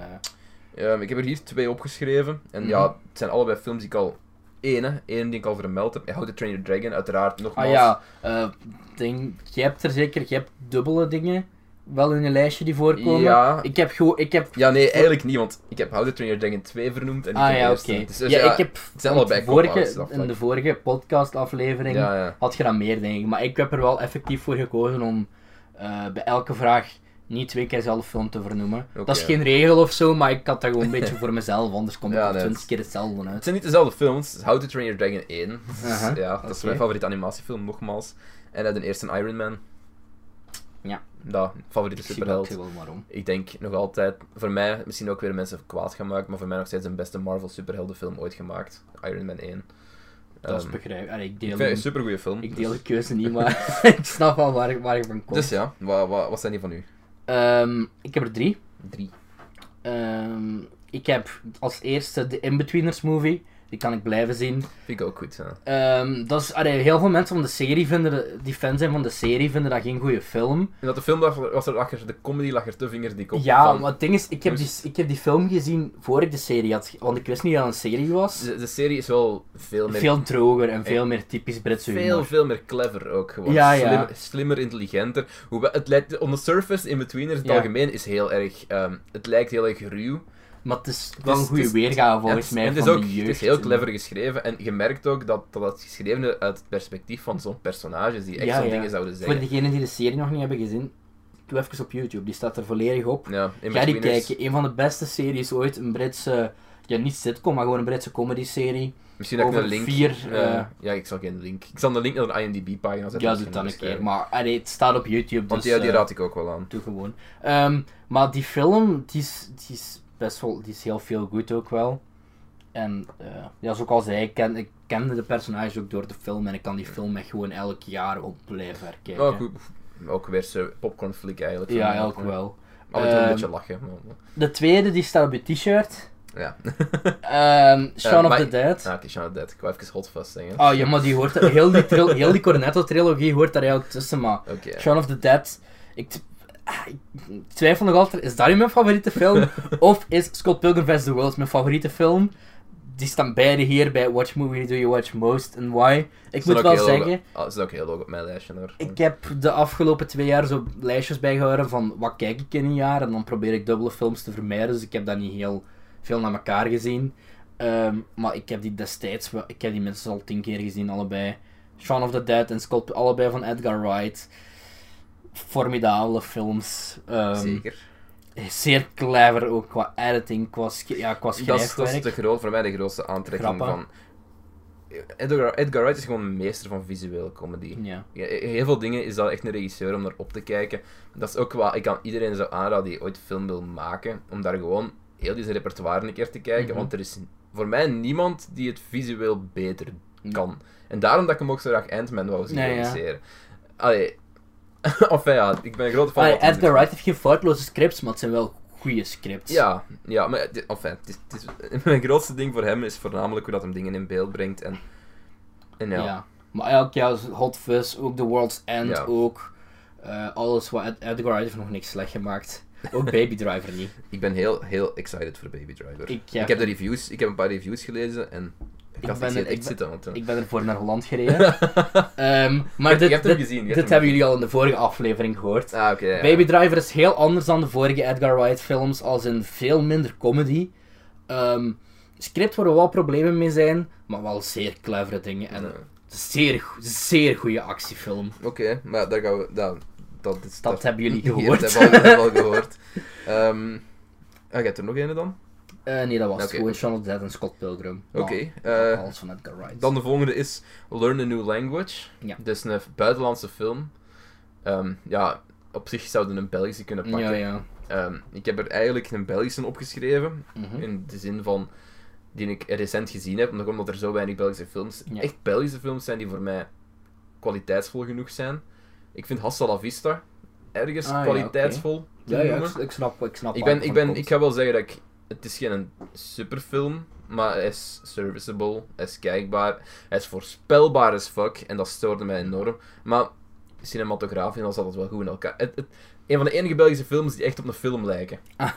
eh, Ehm, ik heb er hier twee opgeschreven. En Mhm. ja, het zijn allebei films die ik al... Eén, hè. Eén die ik al vermeld heb. Ja, How to Train Your Dragon, uiteraard. Nogmaals. ah ja, eh denk, je hebt er zeker, je hebt dubbele dingen wel in je lijstje die voorkomen. Ja. Ik heb gewoon, ik heb. Ja, nee, eigenlijk niet, want ik heb How to Train Your Dragon 2 vernoemd en ik ah heb ja, eerst oké. een. Dus, dus ja, ik heb. het zijn allebei in de vorige- cop-outs, dat in vlak. de vorige podcastaflevering Ja, ja. had je dan meer dingen, maar ik heb er wel effectief voor gekozen om eh, bij elke vraag niet twee keer dezelfde film te vernoemen. Dat is Oké. geen regel of zo, maar ik had dat gewoon een beetje voor mezelf, anders komt Ja, het nee, er het- twintig keer hetzelfde uit. Het zijn niet dezelfde films. Het is How to Train Your Dragon 1. Aha, ja, dat is oké. mijn favoriete animatiefilm, nogmaals. En eh, de eerste Iron Man. Ja. Dat, favoriete Ik zie wel superheld. veel waarom. Ik denk nog altijd, voor mij, misschien ook weer mensen kwaad gemaakt, maar voor mij nog steeds de beste Marvel superheldenfilm ooit gemaakt. Iron Man 1. Dat is Ehm, begrijp. Allee, ik ik deel, vind het een hem- supergoeie film. ik deel de dus, keuze niet, maar ik snap wel waar, waar je van komt. dus ja, wat, wat, wat zijn die van u? Ehm, ik heb er drie. Drie. Ehm, ik heb als eerste de Inbetweeners movie. Die kan ik blijven zien. Vind ik ook goed. Ja. Ehm, dat is, allee, heel veel mensen van de serie vinden, de- die fan zijn van de serie, vinden dat geen goede film. En dat de film lag- was er lacher, de comedy lag er te vingerdik op. ja, van- maar het ding is, ik heb, die, Dus- ik heb die film gezien voor ik de serie had. ge- Want ik wist niet dat het een serie was. de, de serie is wel veel meer Veel droger en veel meer typisch Britse Veel, humor. veel meer clever ook gewoon. Ja, ja. Slimmer, slimmer, intelligenter. Hoewel, het lijkt, on the surface, in betweeners, het Ja. algemeen is heel erg. ehm, het lijkt heel erg ruw. Maar het is Het wel is- een het goede is- weergave En volgens het, mij en van het is ook de jeugd. het is heel clever geschreven. En je merkt ook dat dat het geschreven is uit het perspectief van zo'n personages die echt Ja, zo'n ja. dingen zouden Voor zeggen. degenen die de serie nog niet hebben gezien, doe even op YouTube. Die staat er volledig op. Ja, in Ga die Betweeners. kijken. Een van de beste series ooit. Een Britse, ja niet sitcom, maar gewoon een Britse comedy serie. Misschien dat ik over een link. vier, eh, eh, ja, ik zal geen link. Ik zal de link naar de IMDb-pagina zetten. Ja, doe misschien dat dus, een eh, keer. Maar allee, het staat op YouTube, Want dus die, die eh, raad ik ook wel aan. doe gewoon. Ehm, maar die film, die is, die is best wel, die is heel veel goed ook wel. En eh, ja, zoals ik al zei, ik, ken, ik kende de personages ook door de film en ik kan die film echt gewoon elk jaar op blijven herkijken. Maar goed, ook weer zo'n popcorn flick eigenlijk. Ja, Van- elk wel. Altijd een Ehm, beetje lachen. maar- De tweede, die staat op je t-shirt. Ja. Ehm Shaun Eh, of maar- the Dead. Ah, oké, Shaun of the Dead. Ik wou even hot vast zeggen. Oh ja, maar die hoort er, heel die, tril- heel die Cornetto-trilogie hoort daar eigenlijk tussen, maar Oké. Shaun of the Dead, ik, t- ah, ik twijfel nog altijd, is dat nu mijn favoriete film? of is Scott Pilgrim vs. The World mijn favoriete film? Die staan beide hier bij Watch Movie Do You Watch Most and Why. Ik moet wel zeggen, Dat is ah, ook heel hoog op mijn lijstje hoor. Ehm, ik heb de afgelopen twee jaar zo lijstjes bijgehouden van wat kijk ik in een jaar. En dan probeer ik dubbele films te vermijden. Dus ik heb dat niet heel veel naar elkaar gezien. Ehm, maar ik heb die destijds, wel- ik heb die minstens al tien keer gezien, allebei. Shaun of the Dead en Scott, allebei van Edgar Wright. Formidabele films. Ehm, Zeker. Zeer clever ook qua editing, qua, sch- ja, qua Dat is, dat is schrijfwerk. de groot, voor mij de grootste aantrekking van... Grappen. Edgar, Edgar Wright is gewoon een meester van visuele comedy. Ja. Ja, Heel veel dingen is dat echt een regisseur om naar op te kijken. Dat is ook wat ik kan iedereen zou aanraden die ooit film wil maken, om daar gewoon heel deze repertoire een keer te kijken, Mhm. want er is voor mij niemand die het visueel beter Ja. kan. En daarom dat ik hem ook zo graag Ant-Man wou zien Ja, ja. regisseren. Allee... of ja, ik ben een grote fan Ah, van... wat hij Edgar doet. Wright heeft geen foutloze scripts, maar het zijn wel goede scripts. Ja, ja maar het, enfin, het is, het is- mijn grootste ding voor hem is voornamelijk hoe dat hem dingen in beeld brengt. En, en ja, Ja. Maar elk jaar Hot Fuzz, ook The World's End, Ja. ook eh, alles wat Ed- Edgar Wright heeft nog niks slecht gemaakt. Ook Baby Driver niet. ik ben heel, heel excited voor Baby Driver. Ik, ja, heb de reviews, ik heb een paar reviews gelezen en ik had ben het er- ik echt ben- zitten. Want, ik ben ervoor naar Holland gereden. Ehm, maar Je hebt- je dit, hebt hem dit, gezien, je hebt dit hem hebben jullie al in de vorige aflevering gehoord. ah, oké. ja. Baby Driver is heel anders dan de vorige Edgar Wright films, als in veel minder comedy. ehm, script waar wel problemen mee zijn, maar wel zeer clevere dingen. En Eh, het is zeer, go- zeer goede actiefilm. Oké, maar daar gaan we... Dat, dat, is- Dat hebben jullie Ja, gehoord. dat hebben we al gehoord. Ehm ah, je hebt er nog een dan? Eh, nee, dat was het. Oké. Gewoon Shaun of the Dead en Scott Pilgrim. Maar Oké, eh, alles van Edgar Wright. Dan de volgende is Learn a New Language. Ja. Dit is een buitenlandse film. Ehm, ja, op zich zouden we een Belgische kunnen pakken. Ja, ja. Ehm, ik heb er eigenlijk een Belgische opgeschreven. Mhm. In de zin van die ik recent gezien heb, nog omdat er zo weinig Belgische films, Ja. echt Belgische films zijn die voor mij kwaliteitsvol genoeg zijn. Ik vind Hasta la Vista ergens Ah, ja, kwaliteitsvol. te Ja, ja, noemen. ik, ik snap, ik snap Ik, waar ben, je ik, van ben, komt. ik ga wel zeggen dat ik. Het is geen superfilm, maar hij is serviceable, hij is kijkbaar, hij is voorspelbaar as fuck en dat stoorde mij enorm. Maar cinematografisch en al zat het wel goed in elkaar. Het, het- een van de enige Belgische films die echt op een film lijken. Ah.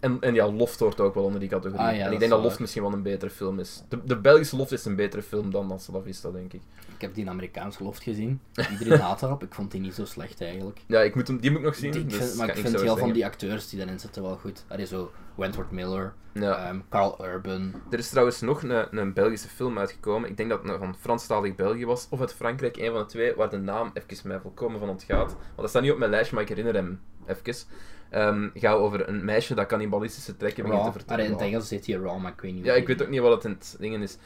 En, en ja, Loft hoort ook wel onder die categorie. Ah, ja, en dat ik is denk dat wel Loft waar. misschien wel een betere film is. De, de Belgische Loft is een betere film dan Hasta la Vista, denk ik. Ik heb die in Amerikaans geloofd gezien. Iedereen haat daarop. Ik vond die niet zo slecht eigenlijk. Ja, ik moet hem, die moet ik nog zien. Die- ik dus vind, maar kan ik niks vind over heel zeggen. van die acteurs die daarin zitten wel goed. Allee, zo Wentworth Miller, Ja. ehm, Carl Urban. Er is trouwens nog een, een Belgische film uitgekomen. Ik denk dat het een van Franstalig België was, of uit Frankrijk, een van de twee, waar de naam even mij volkomen van ontgaat. Want dat staat niet op mijn lijstje, maar ik herinner hem even. Ehm gaat over een meisje dat cannibalistische trekken begint te Raw. Allee, in vertellen. het Engels zit hier Raw, maar ik weet niet Ja, hoe ik die- weet ook niet wat het in het ding is.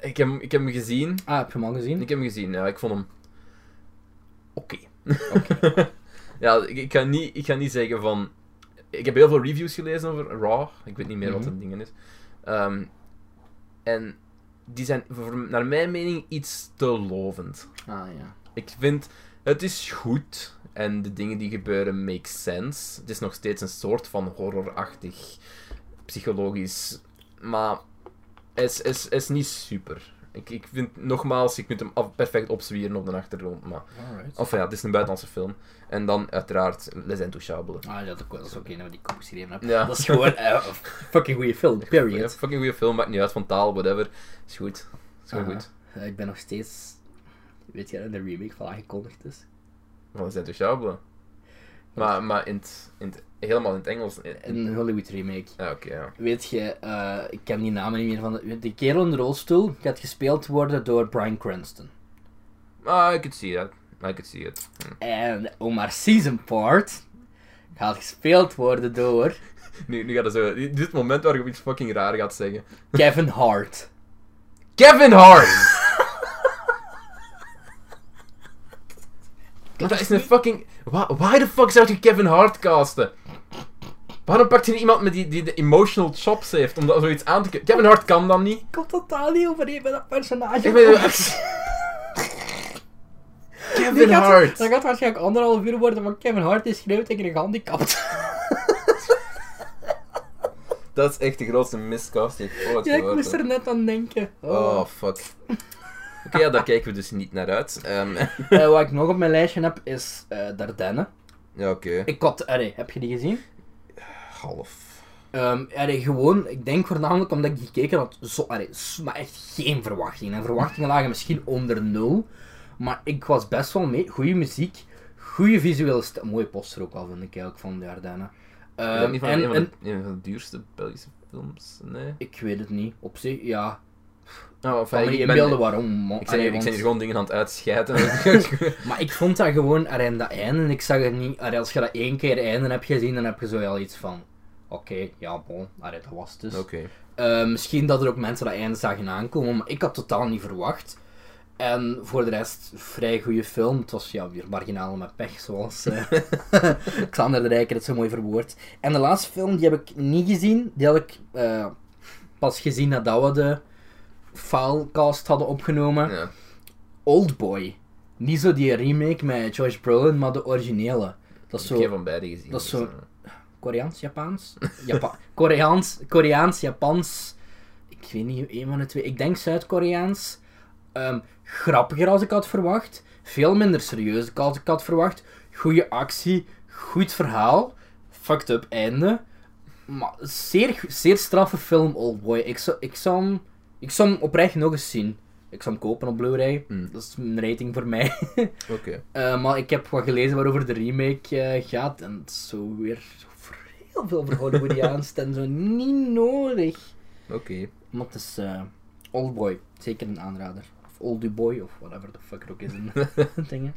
Ik heb, ik heb hem gezien. Ah, heb je hem al gezien? Ik heb hem gezien, ja. Ik vond hem... Oké. ja, ik, ik, ga niet, ik ga niet zeggen van... Ik heb heel veel reviews gelezen over Raw. Ik weet niet meer wat Mhm. het ding is. Ehm, en die zijn voor- naar mijn mening iets te lovend. Ah, ja. Ik vind... Het is goed. En de dingen die gebeuren make sense. Het is nog steeds een soort van horrorachtig. Psychologisch. Maar... Het is, is, is niet super. Ik, ik vind, nogmaals, ik kunt hem af- perfect opzwieren op de achtergrond, maar... Alright. Of ja, het is een buitenlandse film. En dan uiteraard Les Intouchables. Ah, ja, dat, dat is ook een die ik ook geschreven heb. Ja. Dat is gewoon eh, een fucking goede film, Ja, period. fucking goede film, maakt niet uit van taal, whatever. Is goed. Is gewoon Aha. goed. Eh, ik ben nog steeds... Weet je, dat er een remake van aangekondigd is. Van Les Intouchables. Maar, maar in het, in het- helemaal in het Engels. in- in- Een Hollywood remake. Ja, oké, ja. Weet je, eh, ik ken die namen niet meer van de... De kerel in de rolstoel gaat gespeeld worden door Brian Cranston. Maar ik Ah, could see that. I could see it. Hm. En Omar Season Part gaat gespeeld worden door Nu, nu gaat het zo... Dit is het moment waar ik iets fucking raar gaat zeggen. Kevin Hart. Kevin Hart! Maar dat is een fucking... Wa- Why the fuck zou je Kevin Hart casten? Waarom pakt je niet iemand met die, die de emotional chops heeft om dat zoiets aan te kunnen? Kevin Hart kan dat niet. Komt totaal niet overeen met dat personage. Ik ben... Kevin Hart! Dat gaat waarschijnlijk anderhalf uur worden, maar Kevin Hart is schreeuwt tegen een gehandicapt. Dat is echt de grootste miscast die ik ooit ja, ik moest er net aan denken. Oh. Oh, fuck. Oké, ja, daar kijken we dus niet naar uit. Ehm, Eh, wat ik nog op mijn lijstje heb, is eh Dardenne. ja, oké. Ik had... Allee, heb je die gezien? Half. Ehm, allee, gewoon, ik denk voornamelijk omdat ik gekeken had, zo, allee, s- maar echt geen verwachtingen. En verwachtingen lagen misschien onder nul, maar ik was best wel mee. Goede muziek, goede visuele stijl. Mooie poster ook al, vind ik eigenlijk, van de Ardennen. Is Ehm, dat niet van, en, een, van en- de, een van de duurste Belgische films? Nee. ik weet het niet, op zich, ja. Oh, Ik kan me niet ben- inbeelden waarom. man. Ik zijn, Allee, hier, ik zijn want- hier gewoon dingen aan het uitscheiden. Maar ik vond dat gewoon, allee, en dat einde, ik zag het niet, allee, als je dat één keer einde hebt gezien, dan heb je zo al iets van, oké, ja bon, allee, dat was het dus. Oké. Eh, misschien dat er ook mensen dat einde zagen aankomen, maar ik had totaal niet verwacht. En voor de rest, vrij goede film. Het was ja, weer marginaal met pech, zoals eh, Xander de Rijker het zo mooi verwoordt. En de laatste film, die heb ik niet gezien. Die had ik eh, pas gezien nadat we de filecast hadden opgenomen. Ja. Oldboy. Niet zo die remake met Josh Brolin, maar de originele. Dat Ik is heb geen zo van beide gezien. dat is dus, zo- eh, Koreaans, Japans? Japa Koreaans, Koreaans, Japans. Ik weet niet, een van de twee. Ik denk Zuid-Koreaans. Ehm, grappiger als ik had verwacht. Veel minder serieus dan als ik had verwacht. Goede actie, goed verhaal. Fucked up einde. Maar zeer, go- zeer straffe film, Oldboy. Ik zou, ik, zou hem, ik zou hem oprecht nog eens zien. Ik zou hem kopen op Blu-ray. Mm. Dat is een rating voor mij. Oké. Eh, maar ik heb wat gelezen waarover de remake eh, gaat. En het is zo weer zo heel veel voor Hollywoodiaans en zo. Niet nodig. Oké. Maar het is eh, Oldboy. Zeker een aanrader. Of Olduboy of whatever the fuck er ook is in dingen.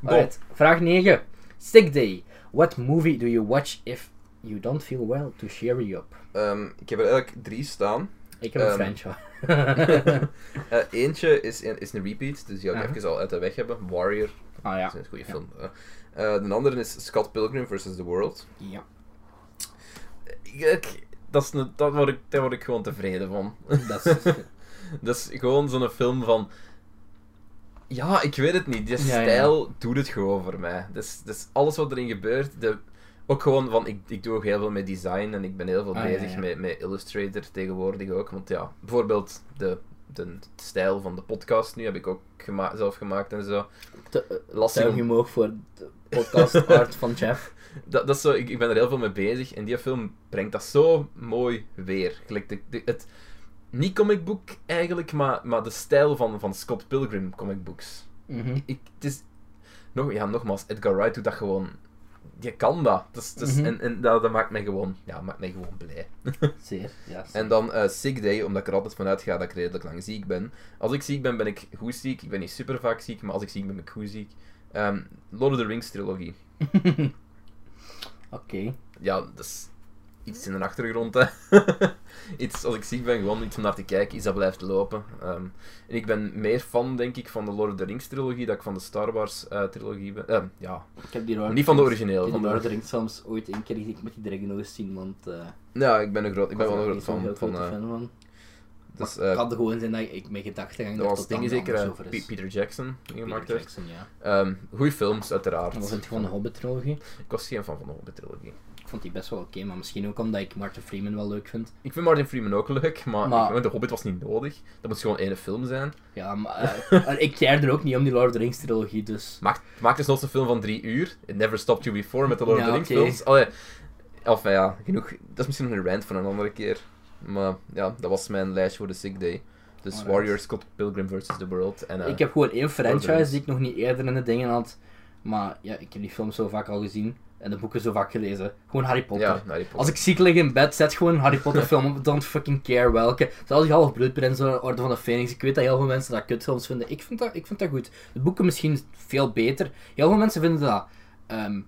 Bon. Alright, vraag 9. Sick day. What movie do you watch if you don't feel well to cheer you up? Ehm, ik heb er eigenlijk drie staan. Ik heb een Ehm. franchise. Eh, eentje is, een- is een repeat, dus die wil ik Aha. even al uit de weg hebben. Warrior, ah dat ja. is een goede Ja. film. Eh, eh, de andere is Scott Pilgrim vs. The World. Ja, Ik, dat is een, dat word ik, daar word ik gewoon tevreden van. dat is... Dat is gewoon zo'n film van... Ja, ik weet het niet. Die Ja, ja. stijl doet het gewoon voor mij. Dus, dus alles wat erin gebeurt... De, ook gewoon van... Ik, ik doe ook heel veel met design en ik ben heel veel Ah, ja, bezig ja. Met, met Illustrator tegenwoordig ook. Want ja, bijvoorbeeld de, de stijl van de podcast nu heb ik ook gema- zelf gemaakt en zo. Te- eh, Lastig Duim om- omhoog voor de podcast Art van Jeff. Dat, dat is zo, ik, ik ben er heel veel mee bezig en die film brengt dat zo mooi weer. Gelijk de, de- het, niet comic book eigenlijk, maar, maar de stijl van, van Scott Pilgrim comic books. Mhm. Ik, het is, nog, ja, nogmaals, Edgar Wright doet dat gewoon. Je kan dat. Dat is- dat is- Mhm. En, en dat, dat maakt mij gewoon, ja, maakt mij gewoon blij. Zeer, ja. zeer. En dan eh, Sick Day, omdat ik er altijd vanuit ga dat ik redelijk lang ziek ben. Als ik ziek ben, ben ik goed ziek. Ik ben niet super vaak ziek, maar als ik ziek ben, ben ik goed ziek. Ehm, Lord of the Rings trilogie. Oké. ja, dat is iets in de achtergrond. Hè. iets, als ik ziek ben, gewoon iets om naar te kijken, iets dat blijft lopen. Ehm, en ik ben meer fan, denk ik, van de Lord of the Rings trilogie, dat ik van de Star Wars eh, trilogie ben. Ehm, ja, Ik heb die Lord niet van de Rings- originele. Die Van Lord of the de... Rings films ooit één keer gezien. Ik moet die direct nog eens zien, want... eh, Ja, ik ben, een groot, ik ben wel een er groot niet zo'n heel fan van. grote eh, fan van. dus, Het eh, kan gewoon zijn dat ik mijn gedachten gang dat was het totaal ding zeker, anders eh, over Pe- is. Peter Jackson, die Peter gemaakt heeft. Jackson, ja. Ehm goeie films, uiteraard. Dat was het gewoon de Hobbit-trilogie. Ik was geen fan van de Hobbit trilogie. Ik vond die best wel oké, maar misschien ook omdat ik Martin Freeman wel leuk vind. Ik vind Martin Freeman ook leuk, maar, Maar- ik vind de Hobbit was niet nodig. Dat moet gewoon één film zijn. Ja, maar eh, maar ik keer er ook niet om die Lord of the Rings-trilogie, dus... Maak, maak dus nog een film van drie uur. It never stopped you before met de Lord of Ja, the Rings oké. films. Allee, of eh, ja, genoeg. Dat is misschien nog een rant van een andere keer. Maar ja, dat was mijn lijstje voor de sick day. Dus Alright. Warrior, Scott Pilgrim vs. The World. En, eh, Ik heb gewoon één Lord franchise of die ik nog niet eerder in de dingen had. Maar ja, ik heb die films zo vaak al gezien. En de boeken zo vaak gelezen. Gewoon Harry Potter. ja, Harry Potter. Als ik ziek lig in bed, zet gewoon een Harry Potter film op. Don't fucking care welke. Zelfs als ik half bloed ben en zo'n Orde van de Phoenix. Ik weet dat heel veel mensen dat kutfilms vinden. Ik vind dat, ik vind dat goed. De boeken misschien veel beter. Heel veel mensen vinden dat ehm,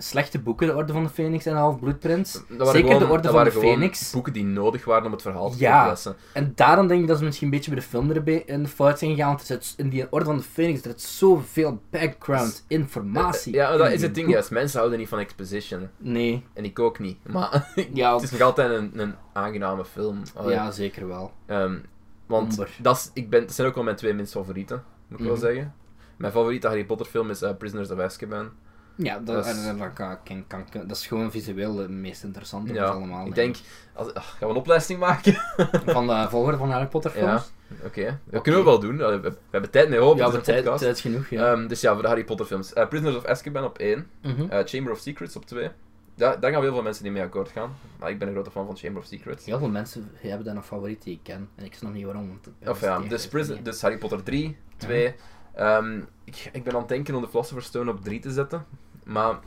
slechte boeken, de Orde van de Phoenix en half bloedprins. Dat waren Zeker gewoon- de dat Orde van de waren gewoon Phoenix. boeken die nodig waren om het verhaal te Eh, Ja. toepassen. En daarom denk ik dat ze misschien een beetje bij de film erbij in de fout zijn gegaan. Want er zit in die Orde van de Phoenix er zit zoveel background informatie. eh, Ja, maar dat in is die het ding boek. juist. Mensen houden niet van exposition. Nee, En ik ook niet. Maar ja, het is nog altijd een, een aangename film. Allee, ja, zeker wel. Ehm, want Amber. dat, is, ik ben, dat zijn ook wel mijn twee minst favorieten, moet ik Mhm. wel zeggen. Mijn favoriete Harry Potter film is eh, Prisoners of Azkaban. Ja, dat, Dat is- en dat kan- kan- kan- kan- dat is gewoon visueel het meest interessante van Ja, het allemaal. ik denk denk... Als, ah, gaan we een opleiding maken? ik. Van de volgorde van Harry ja, Potter films? oké. Dat kunnen we wel doen. Allee, We, we hebben tijd mee hopen, Ja, het is maar een tijd, podcast. tijd genoeg, ja. Ehm, dus ja, voor de Harry Potter films. Eh, Prisoners of Azkaban op 1. Mhm. Eh, Chamber of Secrets op 2. daar gaan heel veel mensen niet mee akkoord gaan. Maar ik ben een grote fan van Chamber of Secrets. Heel veel mensen hebben dan een favoriet die ik ken. En ik snap niet waarom. Want het- Of ja, het- dus, het- Prison, het- dus Harry Potter 3, 2. Ehm, ik, ik ben aan het denken om de Philosopher's Stone op 3 te zetten. Maar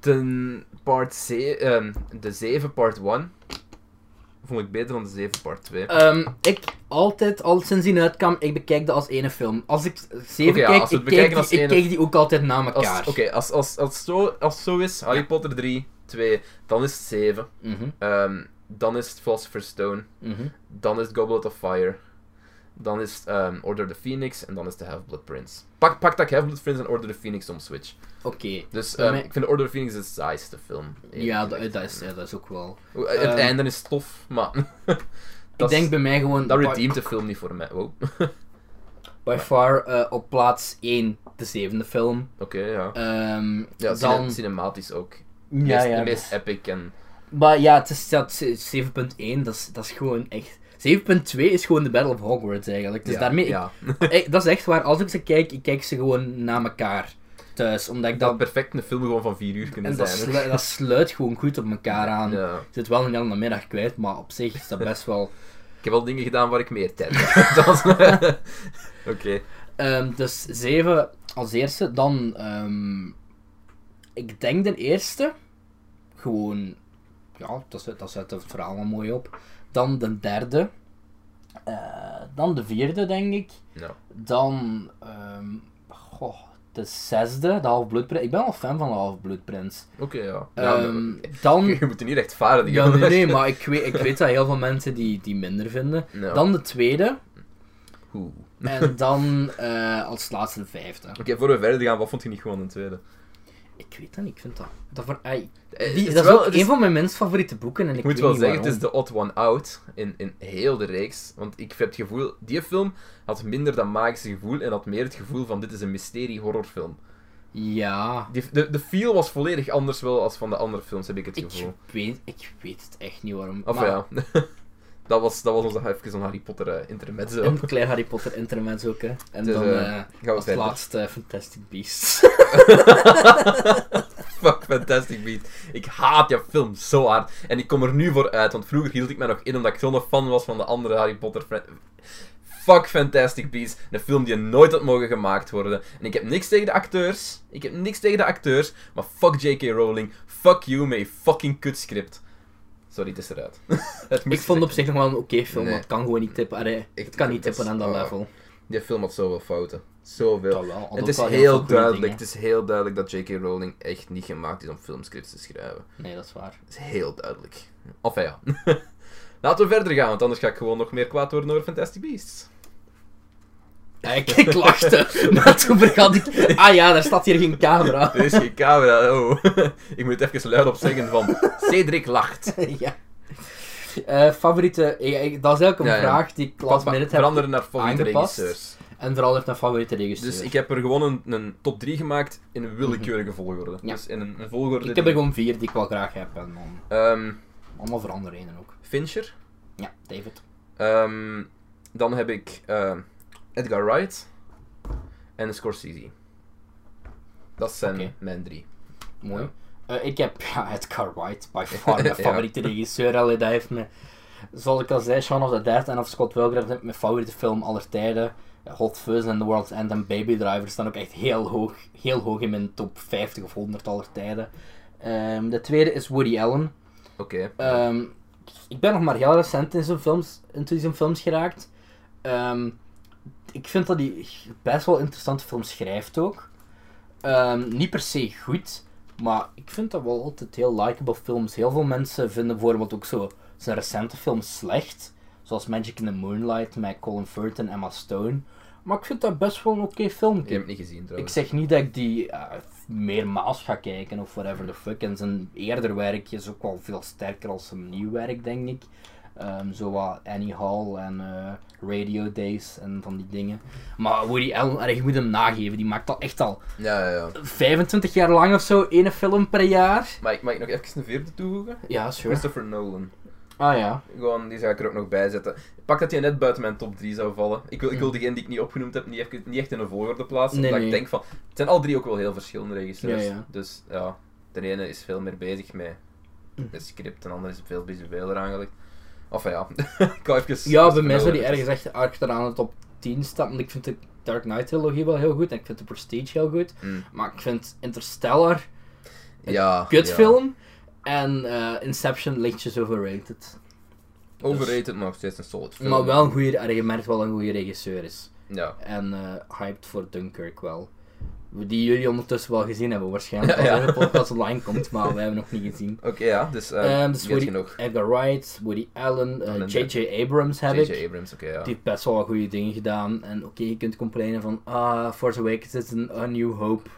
de, part ze- ehm, de 7 part 1 vond ik beter dan de 7 part 2. Ehm, ik altijd, al sinds die uitkwam, ik bekijk dat als ene film. Als ik zeven Oké, ja, kijk, als we ik, het bekijken kijk die, als ik ene- kijk die ook altijd na Als- elkaar. Oké, als, als, als, zo, als zo is, Harry Potter 3, 2, dan is het 7. Mhm, Ehm, dan is het Philosopher's Stone. mhm. Dan is het Goblet of Fire. Dan is het ehm, Order of the Phoenix. En dan is de Half-Blood Prince. Pak, pak dat ik Half-Blood Prince en Order of the Phoenix om switch. Oké. Dus Bij ehm, mij- ik vind Order of Phoenix de saaiste film. Ja, dat, dat is, ja, dat is ook wel... Hoe- Het ehm, einde is tof, maar... Ik dat is- denk bij mij gewoon... Dat by- redeemt de film niet voor mij. Oh, Wow. Oké, By far eh, op plaats 1, de zevende film. ja. Ehm, Ja, cine- dan... cinematisch ook. ja, Meest- ja, de dat- meest epic en... Maar ja, het is dat is 7.1, dat is, dat is gewoon echt... 7.2 is gewoon de Battle of Hogwarts eigenlijk. Dus ja, daarmee... Ja. ik- dat is echt waar. Als ik ze kijk, ik kijk ze gewoon na elkaar thuis. Omdat ik Ik dat dat... perfect een film gewoon van vier uur kunnen En dat, zijn. slu- dat sluit gewoon goed op elkaar aan. Ja. Ik zit wel een hele middag kwijt, maar op zich is dat best wel... Ik heb wel dingen gedaan waar ik meer tijd heb. Dat is- Oké. Ehm, dus 7 als eerste. Dan, ehm, ik denk de eerste. gewoon, ja, dat zet, dat zet het verhaal wel mooi op. Dan de derde. Eh, dan de vierde, denk ik. Ja. Dan ehm, goh, de zesde, de Half Blood Prince. Ik ben al fan van de Half Blood Prince. Oké, ja. Ja, maar- Ehm, dan... Je moet er niet rechtvaardigen. Ja, nee, nee, maar ik weet, ik weet dat heel veel mensen die, die minder vinden. Ja. Dan de tweede. Oeh. En dan eh, als laatste de vijfde. Oké, voor we verder gaan, wat vond je niet gewoon een tweede? Ik weet dat niet, ik vind dat... Dat, voor, ai, Eh, die, het dat is wel- ook het een van mijn minst favoriete boeken en ik, Ik moet weet wel niet zeggen, het waarom. is de odd one out in, in heel de reeks. Want ik heb het gevoel, die film had minder dat magische gevoel en had meer het gevoel van dit is een mysterie-horrorfilm. Ja, Die- De, de feel was volledig anders wel als van de andere films, heb ik het ik gevoel. weet, ik weet het echt niet waarom. Of maar ja, dat was, dat was onze even een Harry Potter eh, intermezzo. Een klein Harry Potter intermezzo ook, hè. En Dus, dan eh, eh, gaan we als verder. laatste Fantastic Beasts. Fuck, Fantastic Beat. Ik haat die film zo hard. En ik kom er nu voor uit, want vroeger hield ik mij nog in omdat ik zo'n fan was van de andere Harry Potter. fran- Fuck Fantastic Beasts, een film die nooit had mogen gemaakt worden. En ik heb niks tegen de acteurs, ik heb niks tegen de acteurs, maar fuck J.K. Rowling, fuck you met je fucking kutscript. Sorry, het is eruit. Het moest ik vond er- op zich nog wel een oké film, Nee. maar het kan gewoon niet tippen. Allee, het Echt, kan niet dat is- tippen aan dat oh, level. Die film had zoveel fouten. Zoveel. Dat wel, had het ook is wel heel, heel veel goede duidelijk, dingen. het is heel duidelijk dat J.K. Rowling echt niet gemaakt is om filmscripts te schrijven. Nee, dat is waar. Dat is heel duidelijk. Of ja. Laten we verder gaan, want anders ga ik gewoon nog meer kwaad worden over Fantastic Beasts. Eh, Ik, ik lachte, maar toen vergat ik... Ah ja, daar staat hier geen camera. Er is geen camera, oh. ik moet even luidop zeggen van... Cedric lacht. ja. Eh, favoriete... ja, ik- dat is eigenlijk een Ja, ja. vraag die ik last minute heb Veranderen naar favoriete aangepast. regisseurs. En vooral heeft naar favoriete regisseur. Dus ik heb er gewoon een, een top 3 gemaakt in een willekeurige volgorde. Ja. Dus in een, een volgorde... Ik heb er die- gewoon vier die ik wel graag heb. En dan Ehm, allemaal veranderingen ook. Fincher. Ja, David. Ehm, dan heb ik ehm, Edgar Wright. En Scorsese. Dat zijn Oké. mijn drie. Mooi. Ja. Eh, ik heb ja, Edgar Wright, by far mijn Ja. favoriete regisseur. Allee, dat heeft me, zoals ik al zei, Shaun of the Dead en of Scott Pilgrim dat zijn mijn favoriete film aller tijden. Eh, Hot Fuzz en The World's End en Baby Driver staan ook echt heel hoog, heel hoog in mijn top 50 of 100 aller tijden. Ehm, de tweede is Woody Allen. Oké. Ehm, ik ben nog maar heel recent in zijn films, in zijn films geraakt. Ehm, ik vind dat hij best wel interessante films schrijft ook. Ehm, niet per se goed, maar ik vind dat wel altijd heel likable films. Heel veel mensen vinden bijvoorbeeld ook zo zijn recente films slecht. Zoals Magic in the Moonlight met Colin Firth en Emma Stone. Maar ik vind dat best wel een oké film. Ik heb het niet gezien trouwens. Ik zeg niet dat ik die eh, meermaals ga kijken of whatever the fuck. En zijn eerder werk is ook wel veel sterker als zijn nieuw werk, denk ik. Ehm zo wat Annie Hall en eh, Radio Days en van die dingen. Maar Woody Allen, allee, je moet hem nageven, die maakt al echt al Ja, ja, ja. 25 jaar lang of zo, ene film per jaar. Mag ik, mag ik nog even een vierde toevoegen? Ja, sure. Christopher Nolan. Ah ja. Gewoon, die ga ik er ook nog bij zetten. Pak dat hij net buiten mijn top 3 zou vallen. Ik wil, ik wil degene die ik niet opgenoemd heb niet, echt- niet echt in een volgorde plaatsen. Mm. Nee, omdat ik nee. denk van, het zijn al drie ook wel heel verschillende regisseurs. Ja, ja. Dus ja, de ene is veel meer bezig met Mm. het script, de andere is veel visueler aangelegd. Of ja, ik wou even... Ja, bij even mij zou die nodig. ergens echt achteraan de top 10 staan. Want ik vind de Dark Knight trilogie wel heel goed en ik vind de Prestige heel goed. Mm. Maar ik vind Interstellar Ja. ja. kutfilm. En eh, Inception lichtjes overrated. Overrated, maar nog steeds een solid film. Maar wel een goede, allee, je merkt wel een goede regisseur is. Ja. En eh, hyped voor Dunkirk wel. Die jullie ondertussen wel gezien hebben waarschijnlijk. Ja, Als ja. de podcast online komt, maar wij hebben hem nog niet gezien. Oké, ja, dus... eh Ehm, dus weet Woody, genoeg. Edgar Wright, Woody Allen, eh, Allen, J.J. Abrams heb ik. J.J. Abrams, oké, ja. Die heeft best wel wat goede dingen gedaan. En oké, je kunt complainen van ah, Force Awakens is een A New Hope.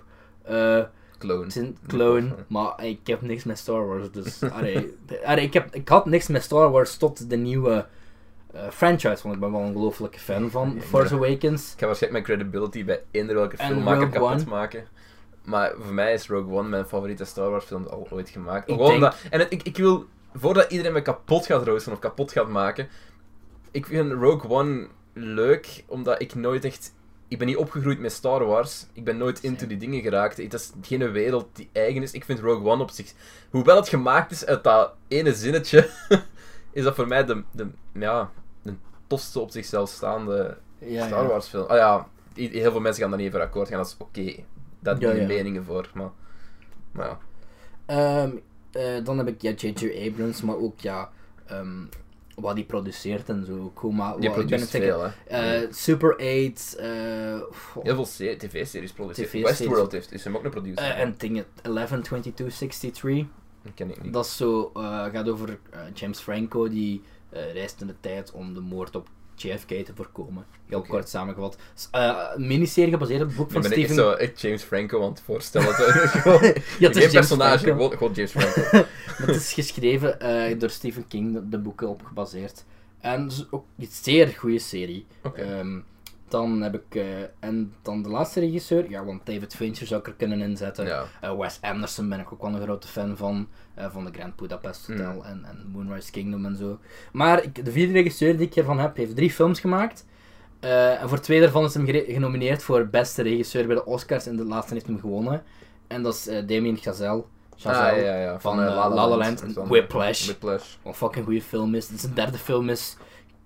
eh, Clone. het is een clone, maar ik heb niks met Star Wars, dus... Allee, allee, ik, heb, ik had niks met Star Wars tot de nieuwe eh, franchise, want ik ben wel een ongelofelijke fan van Force Awakens. Ik ga waarschijnlijk mijn credibility bij eender welke En filmmaker Rogue kapot One. maken. Maar voor mij is Rogue One mijn favoriete Star Wars film al ooit gemaakt. Ik Gewoon denk- dat- en het- ik, ik wil, voordat iedereen me kapot gaat roosten of kapot gaat maken, ik vind Rogue One leuk, omdat ik nooit echt... Ik ben niet opgegroeid met Star Wars. Ik ben nooit into die dingen geraakt. Het is geen wereld die eigen is. Ik vind Rogue One op zich... Hoewel het gemaakt is uit dat ene zinnetje, is dat voor mij de, de, ja, de tofste op zichzelf staande Ja, Star ja. Wars film. Ah ja, i- heel veel mensen gaan daar niet even akkoord gaan. Dat is oké. Daar heb Ja, ik ja. meningen voor. Maar, maar ja. Ehm, eh, dan heb ik ja, J.J. Abrams, maar ook ja, ehm, wat hij produceert en zo. ook gewoon, maar Je wat- ik ben produceert het zeggen, veel, hè. eh, Super 8 eh, goh, Heel veel se- tv-series produceert. TV-series. Westworld heeft, is hem ook een producer. eh, en dingen. 112263. dat ken ik niet. Dat is zo, eh, gaat over eh, James Franco die eh, reist in de tijd om de moord op JFK te voorkomen. Heel Oké. kort samengevat. S- eh, een miniserie gebaseerd op het boek Ik van ben echt Stephen... zo eh, James Franco aan het voorstellen. Zo, gewoon, Ja, het is geen James personage, Franco. gewoon, gewoon James Franco. Maar het is geschreven eh, door Stephen King, de, de boeken op gebaseerd. En het is ook een zeer goede serie. Oké. Ehm, dan heb ik... eh, en dan de laatste regisseur. Ja, want David Fincher zou ik er kunnen inzetten. ja. Eh, Wes Anderson ben ik ook wel een grote fan van. eh, van de Grand Budapest Hotel Mm. en, en Moonrise Kingdom en zo. Maar ik, de vierde regisseur die ik hiervan heb, heeft drie films gemaakt. Eh, en voor twee daarvan is hem gere- genomineerd voor beste regisseur bij de Oscars. En de laatste heeft hem gewonnen. En dat is eh, Damien Chazelle. Chazelle. Ah, ja, ja. van, eh, eh, La La Land en Van, eh, Whiplash. Whiplash. Wat een fucking goede film is. Zijn derde film is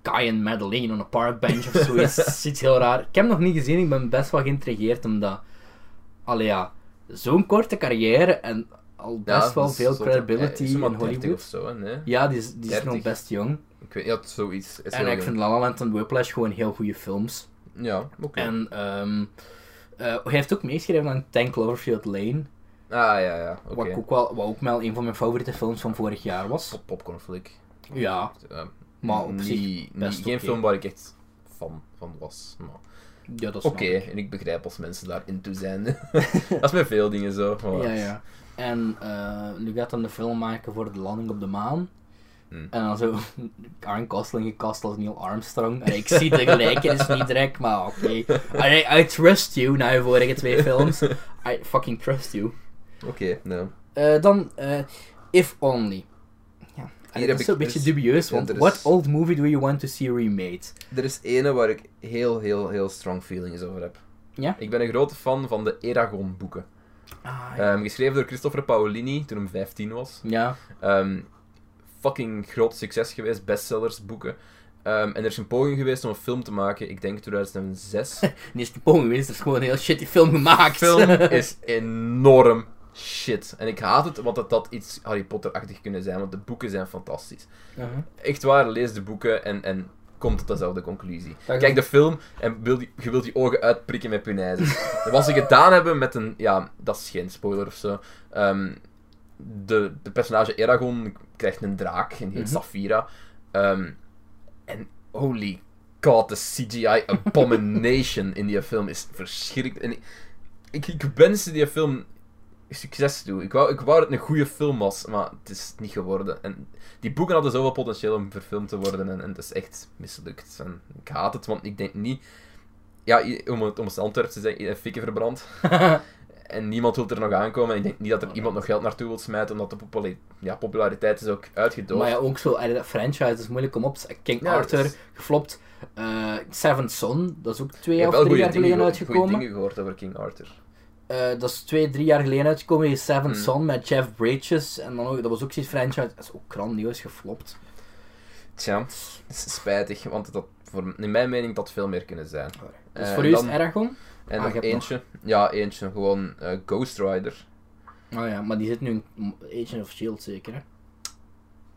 Guy en Madeline on a parkbench of zoiets. Iets heel raar. Ik heb hem nog niet gezien, ik ben best wel geïntrigeerd omdat. Allee ja, zo'n korte carrière en al best Ja, wel dat is veel zo- credibility eh, is in hem al 30 Hollywood. of zo, hè? Nee? Ja, die is, die is 30. nog best jong. Ik weet niet, ja, zoiets. Is en heel ik jong. vind La La Land en Whiplash gewoon heel goede films. Ja, oké. En ehm, eh, hij heeft ook meegeschreven aan Tank Cloverfield Lane. Ah, ja, ja. Oké. Wat, ik ook wel, wat ook wel een van mijn favoriete films van vorig jaar was. Pop popcorn flick. Ja, Eh, maar op niet- zich. niet- best Geen oké. film waar ik echt van, van was. maar- Ja, dat Oké, snap ik. en ik begrijp als mensen daarin toe zijn. dat is met veel dingen zo. maar- Ja, ja. En eh, nu gaat hij de film maken voor de landing op de maan. Hmm. En dan zo Aaron Gosling gekast als Neil Armstrong. Allee, ik zie de gelijkenis niet direct, maar oké. Allee, I trust you na je vorige twee films. I fucking trust you. Oké, nou. Eh, dan eh, If Only. Ja. heb Allee, dat is ik een beetje dus- dubieus, ja, want er is- what old movie do you want to see remade? Er is ene waar ik heel, heel, heel strong feelings over heb. Ja? Ik ben een grote fan van de Eragon boeken. Ah, ja. Ehm, geschreven door Christopher Paolini toen hij 15 was. ja. Ehm, fucking groot succes geweest, bestsellers, boeken. Ehm, en er is een poging geweest om een film te maken, ik denk 2006. Die is de poging geweest, er is gewoon een heel shitty film gemaakt. film is enorm shit. En ik haat het, want dat dat iets Harry Potter-achtig kunnen zijn, want de boeken zijn fantastisch. Uh-huh. Echt waar, lees de boeken en, en kom tot dezelfde conclusie. Dat- Kijk de film en wil die, je wilt die ogen uitprikken met punaises. Wat ze gedaan hebben met een... Ja, dat is geen spoiler of zo. Ehm, de, de personage Eragon krijgt een draak, en heet Mhm. Saphira. Ehm, en holy god, de CGI abomination in die film is verschrikkelijk. En ik, ik, ik wenste die film succes toe. Ik wou, ik wou dat het een goede film was, maar het is niet geworden. En die boeken hadden zoveel potentieel om verfilmd te worden en, en het is echt mislukt. En ik haat het, want ik denk niet... Ja, i- om het, om het Antwerps te zeggen, fikken verbrand. En niemand wil er nog aankomen. En ik denk niet dat er iemand nog geld naartoe wil smijten, omdat de populi- ja, populariteit is ook uitgedoofd. Maar ja, ook zo, allee, dat franchise is moeilijk om op te King Ja, Arthur, dat is- geflopt. Eh, Seven Son, dat is ook Ik twee heb of wel drie goede jaar dingen, geleden gehoord- goeie uitgekomen. dingen gehoord over King Arthur. Eh, dat is twee, drie jaar geleden uitgekomen. Die Seven Hmm. Son met Jeff Bridges. En dan ook, dat was ook zo'n franchise. Dat is ook grandioos geflopt. Tja, het is spijtig, want dat, voor, in mijn mening dat veel meer kunnen zijn. Dus Eh, voor en u is dan- het Eragon? En Ah, je nog hebt eentje. Ja, eentje. Gewoon eh, Ghost Rider. Oh ja, maar die zit nu in Agent of S.H.I.E.L.D. E zeker, hè?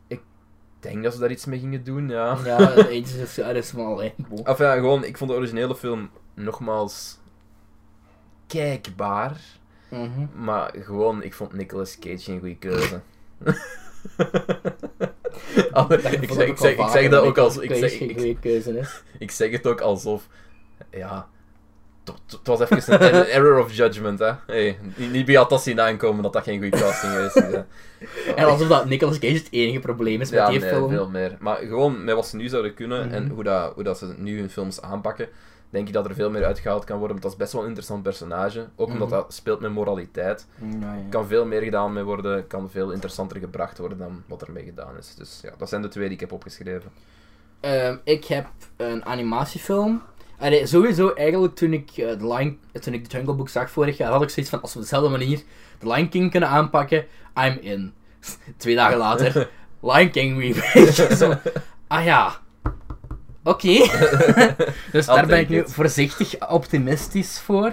Ik denk dat ze daar iets mee gingen doen, ja. Ja, Agent of S.H.I.E.L.D. E is van alleen. Wow. Of ja, gewoon, ik vond de originele film nogmaals kijkbaar. Mhm. Maar gewoon, ik vond Nicolas Cage geen goede keuze. Ah, Dat ik, vond zeg, ook ik, wel zeg, ik vaker zeg dat ook Nicolas als, ik Cage zeg, geen ik, goede keuze is. ik zeg het ook alsof, ja, het was even een, een error of judgment, hè. Hey, niet niet bij Atassi aankomen dat dat geen goede casting is. En alsof dat Nicolas Cage het enige probleem is met Ja, die nee, film. veel meer. Maar gewoon met wat ze nu zouden kunnen en Mhm. hoe, dat, hoe dat ze nu hun films aanpakken, denk ik dat er veel meer uitgehaald kan worden. Want dat is best wel een interessant personage. Ook omdat Mhm. dat speelt met moraliteit. Nou ja. Er kan veel meer gedaan mee worden, kan veel interessanter gebracht worden dan wat ermee gedaan is. Dus ja, dat zijn de twee die ik heb opgeschreven. Ehm, ik heb een animatiefilm. Allee, sowieso eigenlijk toen ik, eh, de Lion, eh, toen ik de Jungle Book zag vorig jaar, had ik zoiets van, als we op dezelfde manier de Lion King kunnen aanpakken, I'm in. Twee dagen later, Lion King remake. Zo, ah ja, oké. dus daar I'll ben ik take nu it. voorzichtig optimistisch voor.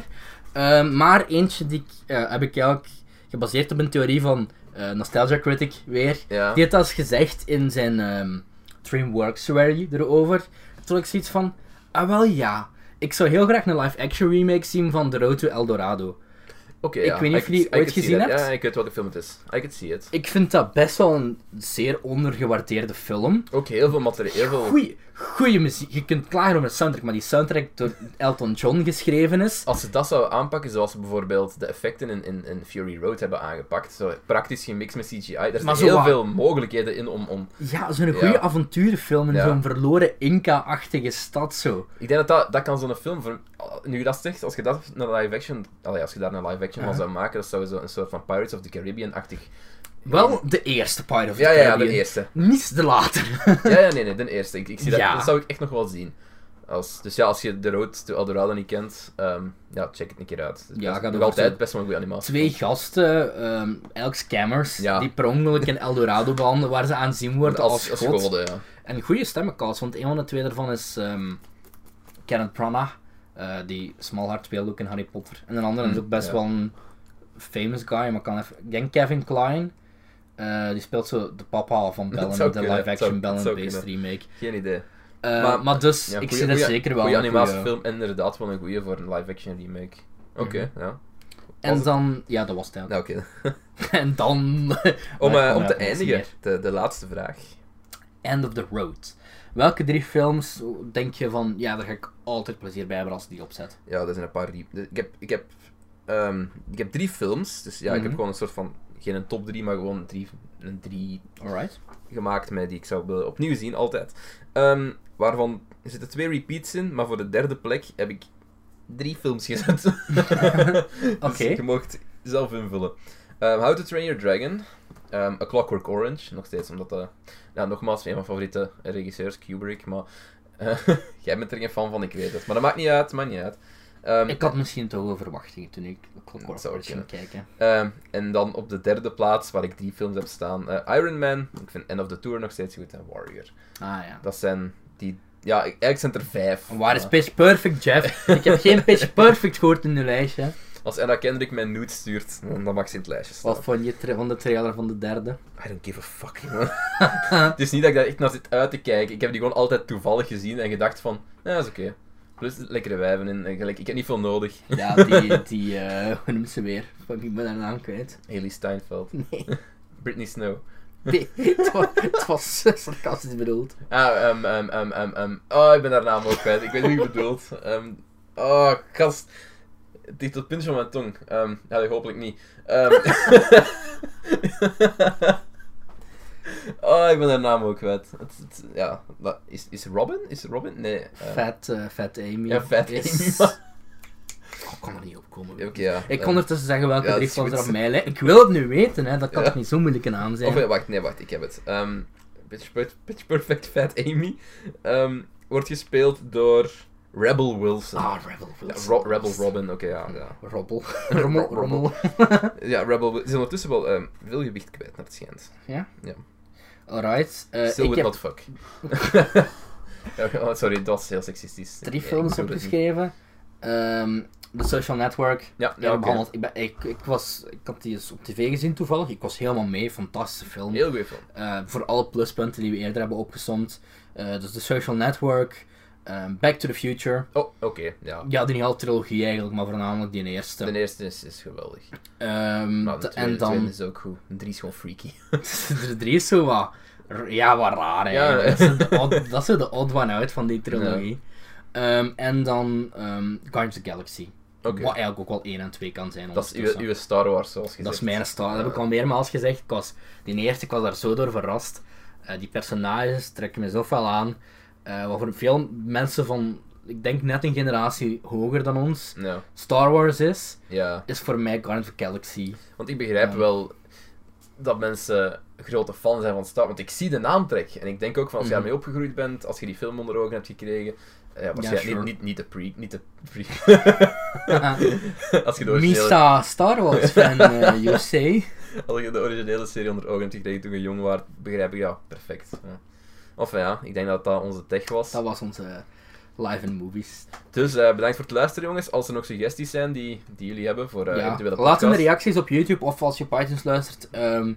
Ehm, maar eentje die ik, eh, heb ik eigenlijk gebaseerd op een theorie van eh, eh, Nostalgia Critic weer. Ja. Die had dat eens gezegd in zijn ehm DreamWorks Rally erover. Toen had ik zoiets van, ah wel ja. Ik zou heel graag een live-action remake zien van The Road to El Dorado. Oké, Ik ja, weet niet I of je could- die I could ooit see gezien that. hebt. Ja, ik weet welke film het is. I can see it. Ik vind dat best wel een zeer ondergewaardeerde film. Ook heel veel materiaal. Heel veel... Goeie, goeie muziek. Je kunt klagen over de soundtrack, maar die soundtrack door Elton John geschreven is. Als ze dat zouden aanpakken zoals ze bijvoorbeeld de effecten in, in, in Fury Road hebben aangepakt, zo praktisch gemixt met CGI, er zijn Maar zo heel wat- veel mogelijkheden in om, om... Ja, zo'n goede Ja. avonturenfilm in Ja. zo'n verloren Inca-achtige stad zo. Ik denk dat dat, dat kan zo'n film... Voor... Nu je dat zegt, als je dat naar live action... Allee, als je daar een live action van Ja. zou maken, dat zou zo een soort van Pirates of the Caribbean-achtig... Wel de eerste Pirate of the Ja, ja, ja, de Caribbean. eerste. Niet de later. Ja, ja, nee, nee, de eerste. Ik, ik zie dat, Ja. dat zou ik echt nog wel zien. Als, dus ja, als je de Road to El Dorado niet kent, ehm, ja, check het een keer uit. Het is Ja, best- ga nog door. altijd best wel een goede animatie. Twee gasten, ehm elk scammers, Ja. die per ongeluk in El Dorado belanden, waar ze aanzien worden als, als god. goden, ja. En goede stemmencast, want een van de twee daarvan is ehm Kenneth Branagh, eh, die Smallheart speelde ook in Harry Potter. En een andere is ook best Hmm, ja. wel een famous guy, maar ik kan even... Ik denk Kevin Klein, eh, die speelt zo de papa van Bell zou and de kunnen, dat zou- live-action Bell dat and zou Beast remake. Geen idee. Eh, Maar- maar, dus, Ja, ik goeie- zie dat goeie- zeker wel. Goeie een goeie- animatiefilm, inderdaad wel een goede voor een live-action remake. Oké, ja. En dan... Mhm. Ja, dat was het eigenlijk. Nou, oké. En dan... Om, eh, om te Maar ik kom daar niet eindigen, meer. de, de laatste vraag. End of the Road. Welke drie films denk je van... Ja, daar ga ik altijd plezier bij hebben als ik die opzet. Ja, er zijn een paar... re- de- Ik heb, ik heb, ehm, ik heb drie films, dus ja, ik heb Mhm. gewoon een soort van... Geen een top drie, maar gewoon drie, een drie Alright. gemaakt met die ik zou willen opnieuw zien, altijd. Ehm, waarvan er zitten twee repeats in, maar voor de derde plek heb ik drie films gezet. Dus Oké. je mocht zelf invullen. Ehm, How to Train Your Dragon, ehm, A Clockwork Orange, nog steeds, omdat dat... Nou, nogmaals, een van mijn favoriete regisseurs, Kubrick, maar... eh, jij bent er geen fan van, ik weet het. Maar dat maakt niet uit, maakt niet uit. Ehm, Ik had misschien toch wel verwachtingen toen ik Dat Clockwork zou Orange ging kijken. Ehm, en dan op de derde plaats, waar ik drie films heb staan, eh, Iron Man, ik vind End of the Tour nog steeds goed, en Warrior. Ah ja. Dat zijn die. Ja, eigenlijk zijn er vijf. Waar is Ja. Pitch Perfect, Jeff? ik heb geen Pitch Perfect gehoord in de lijstje. Als Anna Kendrick mijn nude stuurt, dan dan mag ze in het lijstje staan. Wat vond je tra- van de trailer van de derde? I don't give a fuck, man. het is niet dat ik daar echt naar zit uit te kijken. Ik heb die gewoon altijd toevallig gezien en gedacht van, ja, dat is oké. Plus lekkere wijven in. en gelijk, Ik heb niet veel nodig. Ja, die, die eh, hoe noemt ze weer? Fuck, Ik ben haar naam kwijt. Haley Steinfeld. Nee, Britney Snow. nee het, was, het was sarcastisch bedoeld. Ah, ehm, ehm, ehm, ehm, ehm. Oh, ik ben haar naam ook kwijt. Ik weet niet wie je bedoelt. Ehm, oh, gast. Het ligt op het puntje van mijn tong. Ehm ja, dat hopelijk niet. Ehm. oh, ik ben haar naam ook kwijt. Het, het- ja, dat- is, is Robin? Is Robin? Nee. eh, Fat, eh, fat Amy. Ja, vet. is- Oké, Oh, ik kan er niet op komen. ja. Ik ehm, kon ertussen zeggen welke Ja, ja, dat drie is films er goed. op mij lijken. Ik wil het nu weten, hè. dat kan Ja. toch niet zo moeilijk een naam zijn. Of, eh, wacht, nee, wacht. Ik heb het. Ehm Pitch, Per- Pitch Perfect Fat Amy ehm, wordt gespeeld door Rebel Wilson. Ah, Rebel Ja, Wilson. Ro- Rebel Robin, oké, ja. ja. Robbel. Rommel. Rob- rommel. rommel. Ja, Rebel is ondertussen wel ehm, veel gewicht kwijt, naar het schijnt. Alright. eh, Still ik with heb not fuck. Ja, oh, sorry, dat was heel seksistisch. Eh, drie Ik- ik films doe dat niet. opgeschreven. Ehm The Social Network. Ja, Ja, ja oké. behandeld. Ik, ben, ik, ik, was, ik had die eens op tv gezien toevallig. Ik was helemaal mee. Fantastische film. Heel goede film. Eh, voor alle pluspunten die we eerder hebben opgesomd. Eh, dus The Social Network. ehm, Back to the Future. Oh, oké, ja. Ja, die hele trilogie eigenlijk, maar voornamelijk die eerste. De eerste is, is geweldig. Ehm, Nou, de de- tweede, en dan... tweede is ook goed. De drie is gewoon freaky. de drie is zo wat... r- Ja, wat raar eigenlijk. Ja. Dat, is de odd, dat is de odd one out van die trilogie. Ehm, en dan ehm Guardians of the Galaxy. Oké. Wat eigenlijk ook wel 1 en 2 kan zijn. Dat is uw, ondertussen. uw Star Wars, zoals gezegd. Dat is mijn star. Dat heb ik Ja. al meermaals gezegd. Ik was, die eerste, ik was daar zo door verrast. Eh, die personages trekken me zoveel aan. Eh wat voor veel mensen van, ik denk net een generatie hoger dan ons, Ja, Star Wars is, ja. is voor mij Guardians of the Galaxy. Want ik begrijp Ja. wel dat mensen grote fan zijn van Star Want ik zie de naamtrek. En ik denk ook van als jij Mhm. ermee opgegroeid bent, als je die film onder ogen hebt gekregen. eh, Ja, waarschijnlijk sure. niet, niet, niet de pre. Niet de pre. als je de originele Eh, Misa Star Wars fan, eh you say. Als je de originele serie onder ogen hebt gekregen toen je jong was, begrijp ik ja, perfect. Ja. Of ja, ik denk dat dat onze tech was. Dat was onze Live in movies. Dus eh, bedankt voor het luisteren, jongens. Als er nog suggesties zijn die, die jullie hebben voor eh ja. eventuele Laat in de podcasts, reacties op YouTube of als je op iTunes luistert. ehm,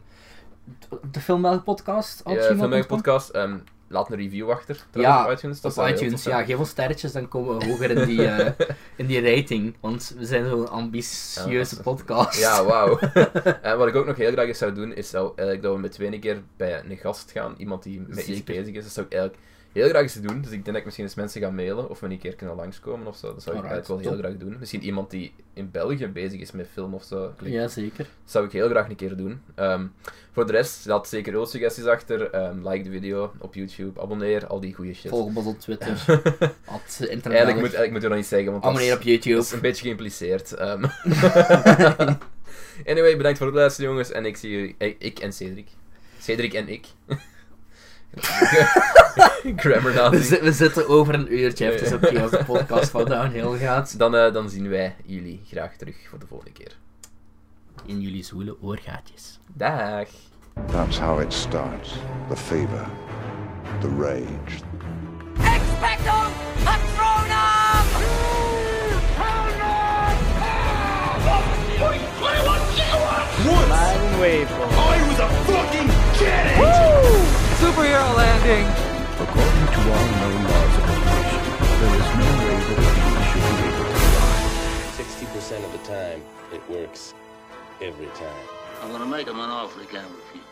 de Filmmelk podcast? eh, Filmmelk filmmaker podcast. ehm, laat een review achter. Ja, op iTunes. Dat op zou heel tof iTunes, zijn. ja. Geef ons sterretjes, dan komen we hoger in die, eh, in die rating. Want we zijn zo'n Ja, dat ambitieuze is- podcast. Ja, wauw. en wat ik ook nog heel graag eens zou doen, is zou eigenlijk dat we met twee keer bij een gast gaan. Iemand die met iets Zeker. bezig is. Dat zou ik eigenlijk heel graag eens doen. Dus ik denk dat ik misschien eens mensen ga mailen of we een keer kunnen langskomen of zo. Dat zou ik Alright, eigenlijk wel heel top. graag doen. Misschien iemand die in België bezig is met film of zo. Klinkt Ja, zeker. Dat zou ik heel graag een keer doen. Ehm, voor de rest, laat zeker uw suggesties achter. Ehm, like de video op YouTube, abonneer, al die goede shit. Volg ons op Twitter. At internet. eigenlijk, moet, eigenlijk moeten we dat niet zeggen, want dat is, Abonneer op YouTube. dat is een beetje geïmpliceerd. Ehm. anyway, bedankt voor het luisteren, jongens. En ik zie jullie... Ik, ik en Cedric. Cedric en ik. Grammar We, nazi. zi- we zitten over een uurtje. Het is Nee. oké als de podcast van downhill gaat. Dan, eh, dan zien wij jullie graag terug voor de volgende keer. In jullie zwoele oorgaatjes. Dag! That's how it starts. The fever, the rage, Expecto Patronum! What do you, what do you want? What do you want? Oh, he was a fucking kidding! According to our known laws of operation, there is no way that a being should be able to fly. 60% of the time, it works every time. I'm gonna make him an offer he can't refuse.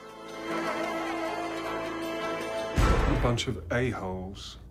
bunch of a-holes.